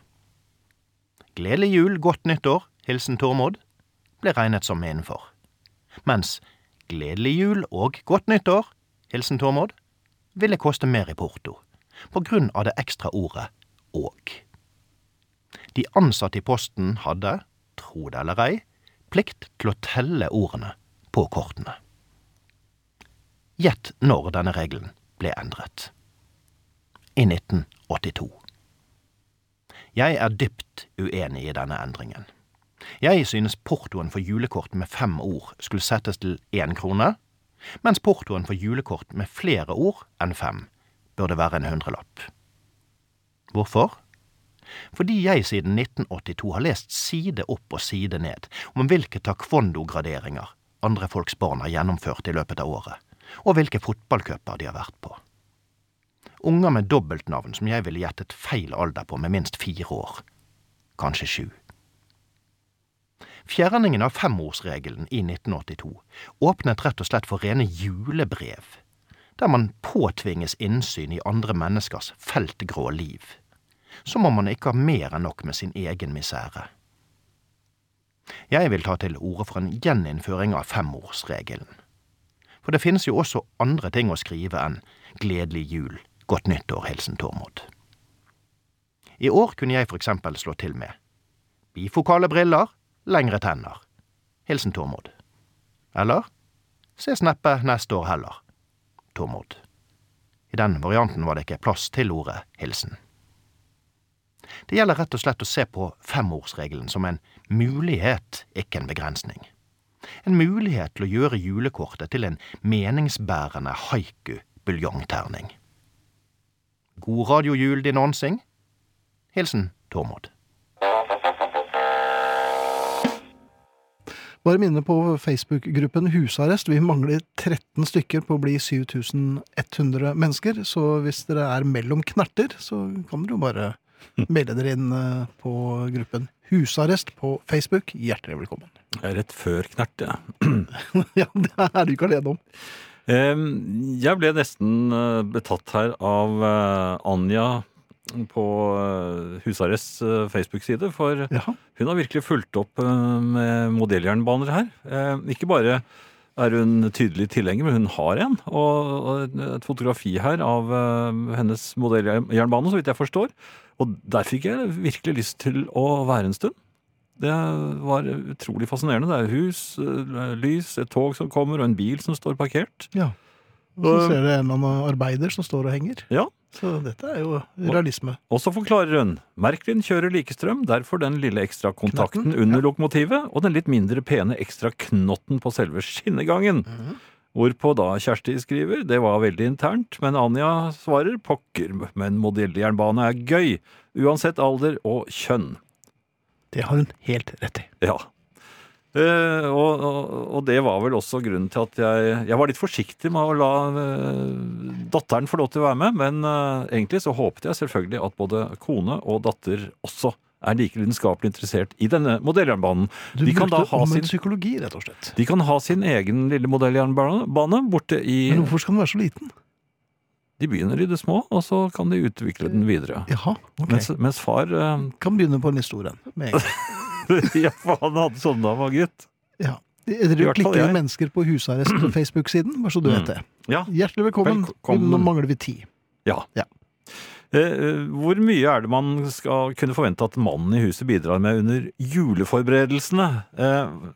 Gledelig jul, godt nyttår, hilsen Tormod, ble regnet som innenfor mens Gledelig jul og godt nyttår, hilsen Tormod, ville koste mer i porto, på grunn av det ekstra ordet og. De ansatte i Posten hadde, tro det eller ei, plikt til å telle ordene på kortene. Gjett når denne regelen ble endret. I 1982. Jeg er dypt uenig i denne endringen. Jeg synes portoen for julekort med fem ord skulle settes til én krone, mens portoen for julekort med flere ord enn fem burde være en hundrelapp. Hvorfor? Fordi jeg siden 1982 har lest side opp og side ned om hvilke taekwondo-graderinger andre folks barn har gjennomført i løpet av året, og hvilke fotballcuper de har vært på. Unger med dobbeltnavn som jeg ville gjettet feil alder på med minst fire år, kanskje sju. Fjerningen av femorsregelen i 1982 åpnet rett og slett for rene julebrev, der man påtvinges innsyn i andre menneskers feltgrå liv. Som om man ikke har mer enn nok med sin egen misere. Jeg vil ta til orde for en gjeninnføring av femorsregelen. For det finnes jo også andre ting å skrive enn 'Gledelig jul, godt nyttår, hilsen Tormod'. I år kunne jeg for eksempel slå til med bifokale briller, lengre tenner. Hilsen Tormod. Eller ses neppe neste år heller. Tormod. I den varianten var det ikke plass til ordet hilsen. Det gjelder rett og slett å se på femorsregelen som en mulighet, ikke en begrensning. En mulighet til å gjøre julekortet til en meningsbærende haiku-buljongterning. God radiojul, din ånsing. Hilsen Tormod. Bare minne på Facebook-gruppen Husarrest. Vi mangler 13 stykker på å bli 7100 mennesker. Så hvis dere er mellom knerter, så kan dere jo bare melde dere inn eh, på gruppen Husarrest på Facebook. Hjertelig velkommen. Jeg er Rett før knert, jeg. ja, det er du ikke alene om. Em, Jeg ble nesten eh, betatt her av eh, Anja på eh, Husarrests eh, Facebook-side, for Ja. hun har virkelig fulgt opp eh, med modelljernbaner her. Eh, Ikke bare er hun tydelig tilhenger, men hun har en. Og og et fotografi her av eh, hennes modelljernbane, så vidt jeg forstår. Og der fikk jeg virkelig lyst til å være en stund. Det var utrolig fascinerende. Det er hus, eh, lys, et tog som kommer, og en bil som står parkert. Ja. Og så ser du en eller annen arbeider som står og henger. Ja, Så dette er jo realisme. Og så forklarer hun Merklin kjører likestrøm, derfor den lille ekstrakontakten under lokomotivet og den litt mindre pene ekstra knotten på selve skinnegangen. Hvorpå da Kjersti skriver det var veldig internt, men Anja svarer pokker, men modelljernbane er gøy, uansett alder og kjønn. Det har hun helt rett i. Ja. Eh, og, og, og det var vel også grunnen til at jeg, jeg var litt forsiktig med å la eh, datteren få lov til å være med, men eh, egentlig så håpet jeg selvfølgelig at både kone og datter også er like lidenskapelig interessert i denne modelljernbanen. Du De kan da brukte ha omvendt sin- psykologi, rett og slett. De kan ha sin egen lille modelljernbane bane borte i Men hvorfor skal den være så liten? De begynner i det små, og så kan de utvikle den videre. Jaha, ok. Mens, mens far eh, Kan begynne på den historien. Med en gang. Ja, for han hadde sånne da han var gutt. I Dere hvert fall klikker jeg. jo mennesker på husarrest på Facebook-siden, bare så du vet det. Ja, Hjertelig velkommen. Velkommen. Nå mangler vi ti. Ja. Ja. Eh, eh, Hvor mye er det man skal kunne forvente at mannen i huset bidrar med under juleforberedelsene? Eh,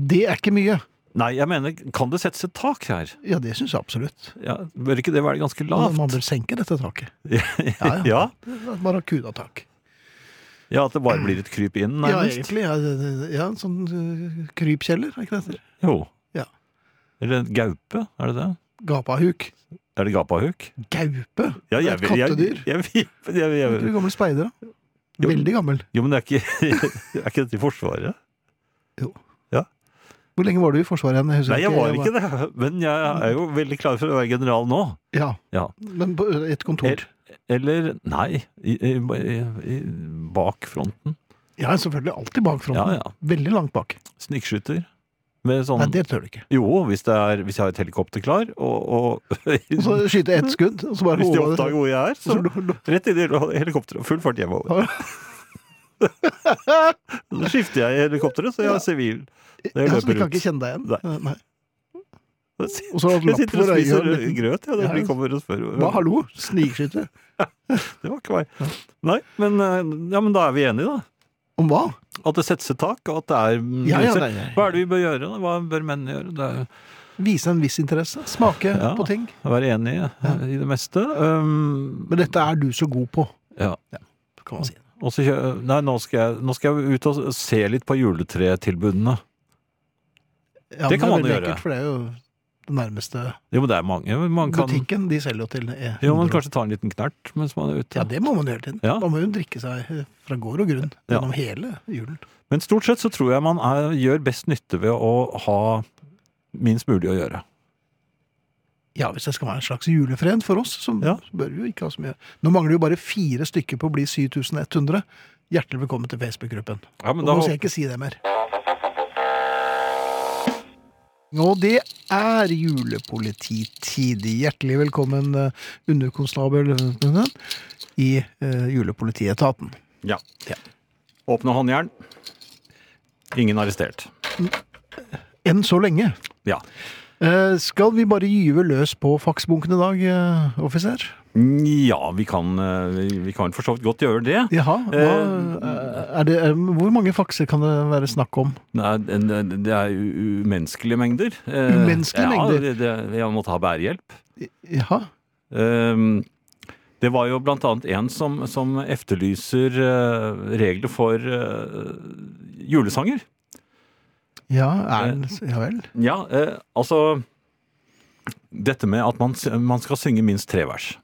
Det er ikke mye. Nei, jeg mener, kan det settes et tak her? Ja, det syns jeg absolutt. Ja, bør ikke det være ganske Man lavt? bør senke dette taket. Ja, ja. ja. Barracuda-tak. ja, at det bare blir et kryp inn, Ja, nærmest? egentlig. Ja, det- det- ja, en sånn øh, krypkjeller, er ikke det det heter? Jo. Ja. Eller en gaupe, er det det? Gapahuk. Er det gapahuk? Gaupe! Det Ja, er jeg, et jeg, jeg, kattedyr. jeg, jeg, jeg, Du er jeg, gammel speider, da. Jo. Veldig gammel. jo, men det er ikke, er ikke dette i Forsvaret? Hvor lenge var du i Forsvaret igjen? husker Nei, jeg var var- ikke det, men jeg er jo veldig klar for å være general nå. Ja. Ja. Men på eh, et kontor. Eller, eller nei, i, i, i, i- bak fronten. Ja, selvfølgelig. Alltid bak Ja, fronten. ja. Veldig langt bak. Snikskytter. Med sånn Nei, det tør du ikke. Jo, hvis, det er, hvis jeg har et helikopter klar, og, og Og så skyte ett skudd, og så bare hvis de håva det. oppdager hvor jeg er, så Så lo- lo- rett inn i helikopteret og full fart hjemover. Så skifter jeg i helikopteret, så jeg er sivil. når Jeg Ja, så de løper kan ikke rundt. kjenne deg igjen. Nei. Nei. Jeg sitter- Og så har du jeg lapp sitter og for spiser øyet. grøt, ja, når Ja. de kommer og spør. Hva, hallo? Snikskyte? Det var ikke meg. Nei, men, eh, ja, men da er vi enige, da. Om hva? At det settes et tak, og at det er Ja, ja, grenser. nei, nei. Hva er det vi bør gjøre? da? Hva bør mennene gjøre? Det er Vise en viss interesse. Smake Ja. på ting. å være enig eh, i det meste. Um, Men dette er du så god på, ja. kan man si. Og så kjø- nei, nå skal, jeg, nå skal jeg ut og se litt på juletretilbudene. Ja, Det men kan man er veldig gjøre. Ekkelt, for det er jo den nærmeste Jo, men det er mange. men Man kan, butikken. De selger jo til E100. jo, man kanskje ta en liten knert mens man er ute. Ja, det må man hele tiden. Ja. Man må jo drikke seg eh, fra gård og grunn Ja. gjennom hele julen. Men stort sett så tror jeg man er, gjør best nytte ved å ha minst mulig å gjøre. Ja, hvis det skal være en slags julefred for oss, så Ja. bør vi jo ikke ha så mye. Nå mangler jo bare fire stykker på å bli 7100. Hjertelig velkommen til Facebook-gruppen. Ja, men Og da, Nå skal jeg håper- ikke si det mer. Og det er julepolititid. Hjertelig velkommen, eh, underkonstabel eh, i eh, julepolitietaten. ja. Åpne håndjern. Ingen arrestert. Enn så lenge. Ja. Eh, Skal vi bare gyve løs på faksbunken i dag, eh, offiser? Ja, vi kan, eh, vi- vi kan for så vidt godt gjøre det. Jaha. Hva, Eh, er det, eh, hvor mange fakser kan det være snakk om? Nei, det det- det er u- umenneskelige mengder. Eh, Umenneskelige ja, mengder? Det, det, jeg måtte ha bærehjelp. Jaha. Ehm, Det var jo blant annet en som, som efterlyser eh, regler for eh, julesanger. Ja, er den Ja vel. Ja, eh, altså Dette med at man, s- man skal synge minst tre vers.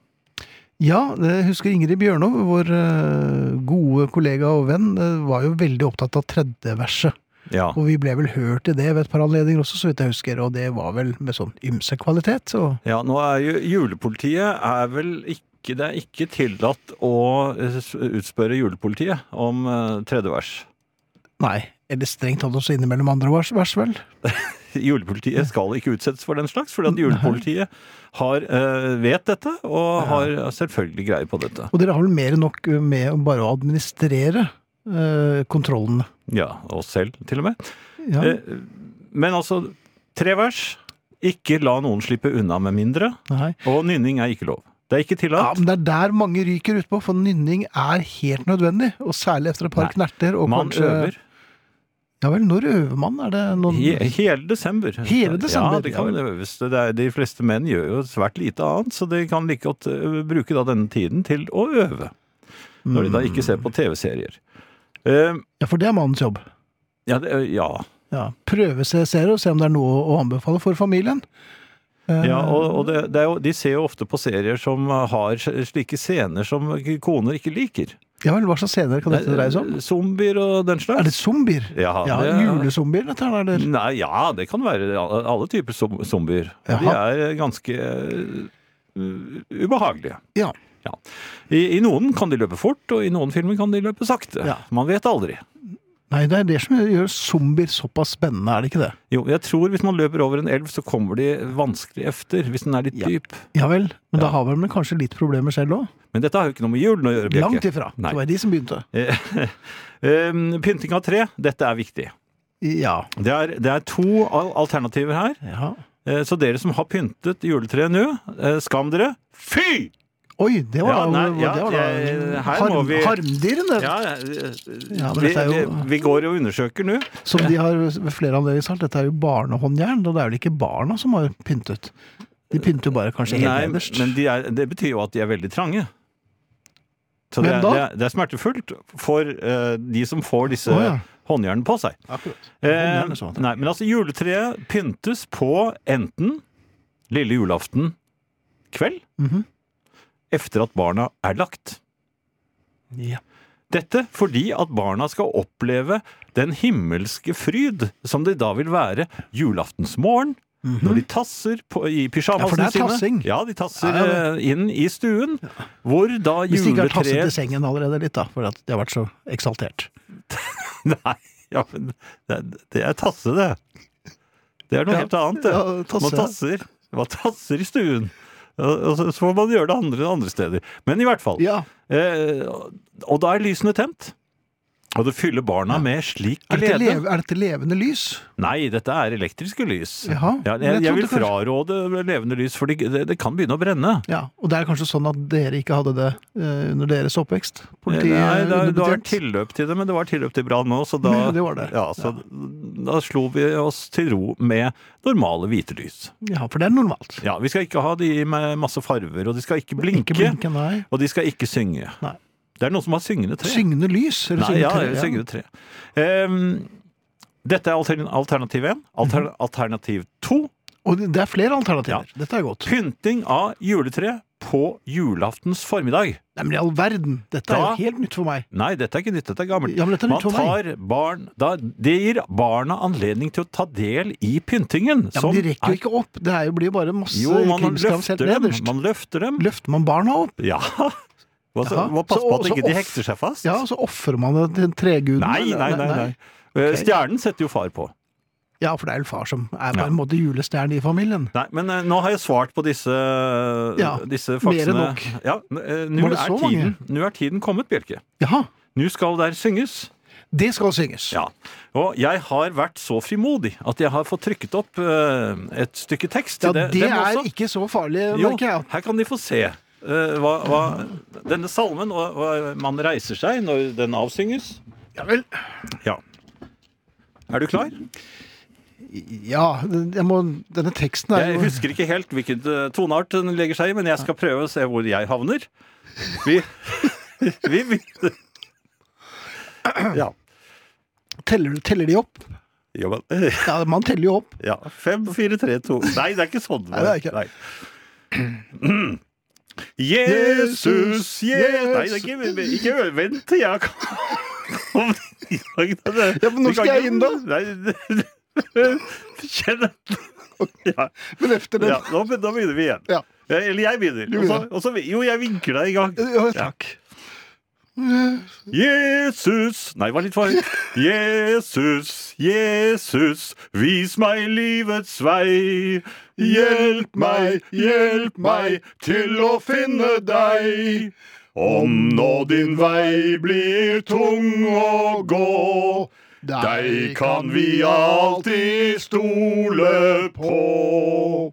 Ja, jeg husker Ingrid Bjørnov, vår eh, gode kollega og venn, eh, var jo veldig opptatt av tredje verset. Ja. Og vi ble vel hørt i det ved et par anledninger også, så vidt jeg husker. Og det var vel med sånn ymse kvalitet. Så ja nå er jo julepolitiet er vel ikke Det er ikke tillatt å eh, s- utspørre julepolitiet om eh, tredje vers. nei. Eller strengt tatt også innimellom andre vers, vers vel. Julepolitiet skal ikke utsettes for den slags, fordi at julepolitiet har, eh, vet dette og har selvfølgelig greie på dette. Og dere har vel mer enn nok med å bare å administrere eh, kontrollene. Ja, oss selv til og med. Ja. Eh, Men altså, Tre vers. Ikke la noen slippe unna med mindre. Nei. Og nynning er ikke lov. Det er ikke Ja, tillatt. men det er der mange ryker utpå, for nynning er helt nødvendig. Og særlig etter et par Nei. knerter. Og Man kanskje, øver Ja vel, når øver man? Er det noen he hele desember. Hele desember, Ja, det ja kan vel. øves. Det er, de fleste menn gjør jo svært lite annet, så de kan like godt ø, bruke da denne tiden til å øve. Når de da ikke ser på TV-serier. Eh, Mm. Ja, for det er mannens jobb. ja, det, eh, ja. Ja. Prøve seg serier og se om det er noe å anbefale for familien. Eh, ja, og, og det, det er jo, de ser jo ofte på serier som har slike scener som koner ikke liker. ja vel, hva slags scener kan dette dreie seg om? Eh, Zombier og den slags. Er det zombier? Ja, Ja, det er- Mm. Julezombier, dette her, eller? Nei, ja, det kan være alle alle typer som- zombier. Og De Jaha. er ganske eh, u- ubehagelige. Ja. I, I noen kan de løpe fort, og i noen filmer kan de løpe sakte. Ja. Man vet aldri. Nei, det er det som gjør zombier såpass spennende, er det ikke det? Jo, jeg tror hvis man løper over en elv, så kommer de vanskelig efter, hvis den er litt dyp. Ja vel, men da har vel man kanskje litt problemer selv òg? Men dette har jo ikke noe med julen å gjøre, Bjerke. Langt ifra. Nei. Det var de som begynte. Ehm, Pynting av tre, dette er viktig. Ja. Det er, det er to al- alternativer her. ja. Eh, Så dere som har pyntet juletreet nå, eh, skam dere. Fy! Oi, det var Ja, da, nei, ja, det var da jeg- her må harm, vi- harmdirrende, Ja, eh, Ja, men vi, dette er jo- vi, vi går og undersøker nå. som de har ved flere anledninger sagt. Dette er jo barnehåndjern, og det er vel ikke barna som har pyntet? De pynter jo bare kanskje helt Nei, nederst. men de er, det betyr jo at de er veldig trange. Så det Hvem er, da? det, er, det er smertefullt for eh, de som får disse Å, ja. håndjernene på seg. Akkurat. Eh, Håndjern, sånn. nei, men altså, juletreet pyntes på enten lille julaften kveld, Mhm. efter at barna er lagt. Ja. Dette fordi at barna skal oppleve den himmelske fryd som de da vil være julaftensmorgen, når de tasser på, i Mhm. Ja, for det pysjamasene er tassing. sine. Ja, de tasser Ja, ja, eh, inn i stuen, hvor da Hvis de ikke har tasset til juletreet sengen allerede litt, da, fordi at de har vært så eksaltert. Nei, ja, men det, det er tasse, det. Det er noe Ja. helt annet, det. Ja, tasse. Man tasser. Man tasser i stuen. Og og så så får man gjøre det andre andre steder. Men i hvert fall. Ja. Eh, og da er lysene tent. Og det fyller barna med slik Er dette, glede. leve, er dette levende lys? Nei, dette er elektriske lys. Jaha, ja, men jeg jeg, jeg vil trodde fraråde levende lys, for det, det kan begynne å brenne. Ja, Og det er kanskje sånn at dere ikke hadde det eh, under deres oppvekst? Politi- Eh, Nei, det, det var underbetjent? tilløp til det, men det var tilløp til brann nå, så da, Det var det. Ja, så, da slo vi oss til ro med normale hvite lys. Ja, for det er normalt. Ja, Vi skal ikke ha de med masse farver, og de skal ikke blinke, Ikke blinke, nei. og de skal ikke synge. Nei. Det er noen som har syngende tre. Syngende lys? Eller Nei, ja, tre, syngende tre. Ehm, dette er altern- alternativ én. Alter, Mhm. alternativ to Og det det er flere alternativer. Dette er godt. pynting av juletre på julaftens formiddag. Nei, men i all verden, dette er Da- jo helt nytt for meg. Nei, dette er ikke nytt, dette er gammelt. Ja, men dette er Man nytt for meg. tar barn da, Det gir barna anledning til å ta del i pyntingen. Ja, men De som rekker sånn er- jo ikke opp. Det er jo blir bare masse Jo, man krimskrams løfter helt dem. nederst. Man løfter dem. Løfter man barna opp? Ja. Og så Jaha. må passe Så- på at så ikke de off- hekter seg fast. Ja, så ofrer man det til treguden? nei, eller- nei, nei, nei. Eh, Stjernen setter jo far på. Ja, for det er jo far som er på Ja. en måte julestjerne i familien. Nei, men eh, nå har jeg svart på disse, disse mer enn faksene. nok. Ja, n- eh, nå Var det er så mange? tiden- Nå er tiden kommet, Bjelke. Jaha, Nå skal der synges. det skal synges. Ja, og jeg har vært så frimodig at jeg har fått trykket opp eh, et stykke tekst Ja, til det, det. Dem er også. ikke så farlig, Jo, merker jeg. her kan de få se eh, hva, hva denne salmen og hva man reiser seg når den avsynges. Ja vel. Ja. Er du klar? Ja, jeg må, denne teksten er Jeg jo husker ikke helt hvilken eh, toneart den legger seg i, men jeg skal prøve å se hvor jeg havner. Vi, vi begynner. Ja. teller, teller de opp? Jo, men, Ja, man teller jo opp. Ja. Fem, fire, tre, to Nei, det er ikke sånn. Nei, det er ikke. Nei. Jesus, Jesus. Je- Nei, det er ikke, men- ikke ø- vent til jeg kom i gang. Det- det- Ja, men nå du kan skal jeg ikke- inn, da. Nei, det- Kjenn ja, Men efter den ja, nå, be- da begynner vi igjen. Ja. Eh, Eller jeg begynner. Og så- og så, jo, jeg vinker deg i gang. Ja, takk. Jesus Nei, det var litt for høyt. Jesus, Jesus, vis meg livets vei. Hjelp meg, hjelp meg til å finne deg. Om nå din vei blir tung å gå, Deg kan vi alltid stole på.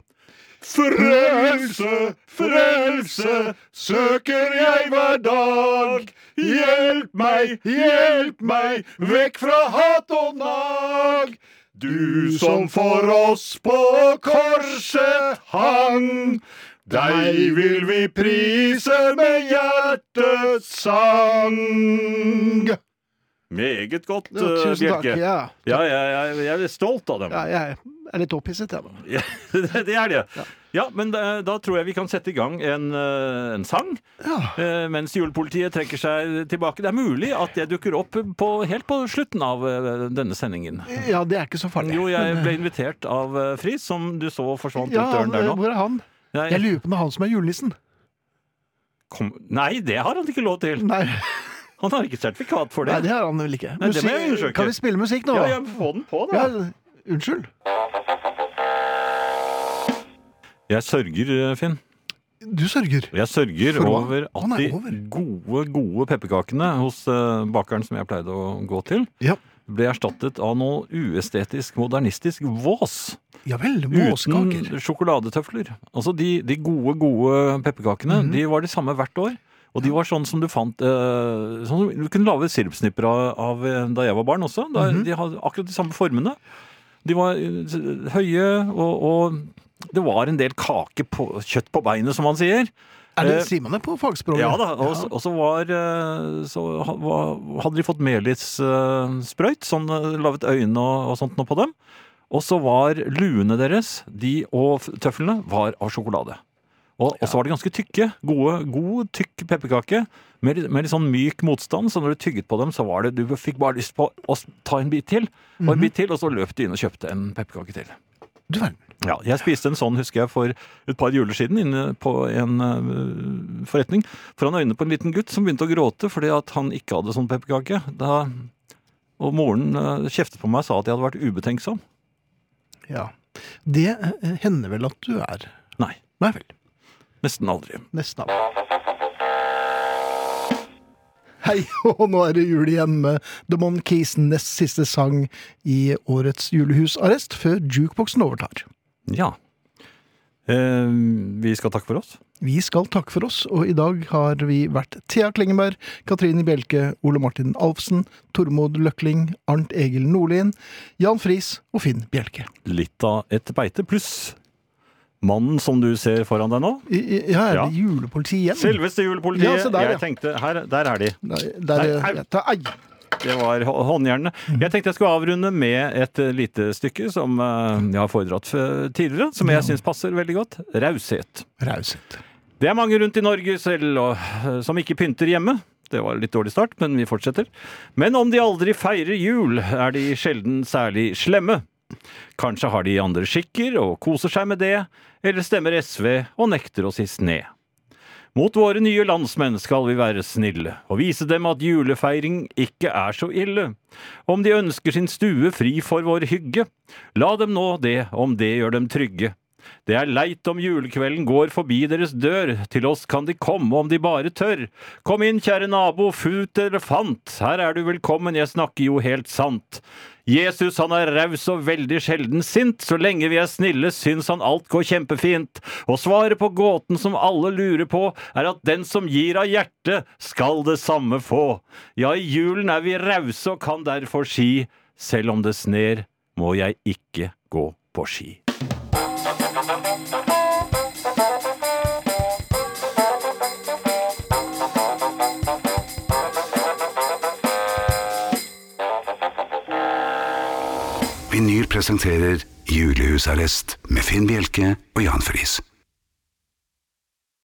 Frelse, frelse søker jeg hver dag. Hjelp meg, hjelp meg vekk fra hat og nag. Du som for oss på korset hang. Deg vil vi prise med hjertets sang. Meget godt, Ja, eh, tusen takk. Bjelke. Ja. Ja, jeg, jeg, jeg er stolt av dem. ja, jeg er litt opphisset, jeg, da. Ja, det det er det. Ja, men da, da tror jeg vi kan sette i gang en, eh, en sang. eh, Mens julepolitiet trekker seg tilbake. Det er mulig at jeg dukker opp på, helt på slutten av eh, denne sendingen. Ja, det er ikke så farlig. Jo, jeg ble invitert av eh, Friis, som du så forsvant ja, ut han, eh, døren der nå. hvor er han? Jeg Nei, lurer på om det er han som er julenissen. kom, nei, det har han ikke lov til. Nei, Han har ikke sertifikat for nei det det. har han vel ikke. Nei, det må jeg undersøke. Kan vi spille musikk nå? Ja, da? ja, få den på, da. Ja, unnskyld. Jeg sørger, eh, Finn. Du sørger. Jeg sørger For hva? over at Å, nei, de over. gode, gode pepperkakene hos eh, bakeren som jeg pleide å gå til, Ja. ble erstattet av noe uestetisk, modernistisk vås. Ja vel, Uten måskaker. sjokoladetøfler. Altså, de, de gode, gode pepperkakene, Mhm. de var de samme hvert år. Og de var sånn som du fant eh, sånn som Du kunne lage sirupsnipper av, av eh, da jeg var barn også. Da, Mhm. De hadde akkurat de samme formene. De var eh, høye, og, og det var en del kake på kjøtt på beinet, som man sier. Er det, eh, sier man det på fagspråket? Ja da, og, så- og så var eh, Så ha- var- hadde de fått melissprøyt, sånn eh, laget øyne og, og sånt noe på dem. Og så var luene deres, de og f- tøflene, var av sjokolade. Og, og så var de ganske tykke. Gode, god, tykk pepperkake. Med, litt- med litt sånn myk motstand, så når du tygget på dem, så var det Du fikk bare lyst på å s- ta en bit til, og en bit til, og så løp du inn og kjøpte en pepperkake til. Du verden. Ja, jeg spiste en sånn, husker jeg, for et par juler siden inne på en eh, forretning. Foran øynene på en liten gutt som begynte å gråte fordi at han ikke hadde sånn pepperkake. Da, og moren eh, kjeftet på meg og sa at jeg hadde vært ubetenksom. Ja. Det eh, hender vel at du er Nei, Nei vel. nesten aldri. Nesten av. Hei, og nå er det jul igjen med The Monkeys nest siste sang i årets julehusarrest, før jukeboxen overtar. Ja. Eh, vi skal takke for oss. Vi skal takke for oss, og i dag har vi vært Thea Klingenberg, Katrine Bjelke, Ole Martin Alfsen, Tormod Løkling, Arnt Egil Nordlien, Jan Friis og Finn Bjelke. Litt av et beite pluss mannen som du ser foran deg nå. I, i, ja, er det Ja. julepoliti igjen? Selveste Ja, julepolitiet. se der, ja. jeg tenkte, her, Der er de. Nei, der, Nei, au. ja, ta- ai. Det var hå- håndjernene. Jeg tenkte jeg skulle avrunde med et eh, lite stykke som eh, jeg har foredratt eh, tidligere, som jeg syns passer veldig godt. Raushet. Raushet. Det er mange rundt i Norge selv og, eh, som ikke pynter hjemme. Det var litt dårlig start, men vi fortsetter. Men om de aldri feirer jul, er de sjelden særlig slemme. Kanskje har de andre skikker og koser seg med det, eller stemmer SV og nekter å si sne. Mot våre nye landsmenn skal vi være snille, og vise dem at julefeiring ikke er så ille. Om de ønsker sin stue fri for vår hygge, la dem nå det om det gjør dem trygge. Det er leit om julekvelden går forbi deres dør, til oss kan de komme om de bare tør. Kom inn, kjære nabo, fut eller fant, her er du velkommen, jeg snakker jo helt sant. Jesus han er raus og veldig sjelden sint, så lenge vi er snille syns han alt går kjempefint. Og svaret på gåten som alle lurer på, er at den som gir av hjertet, skal det samme få. Ja, i julen er vi rause og kan derfor si, selv om det sner, må jeg ikke gå på ski. Vinyl presenterer Julehusarrest med Finn Bjelke og Jan Friis.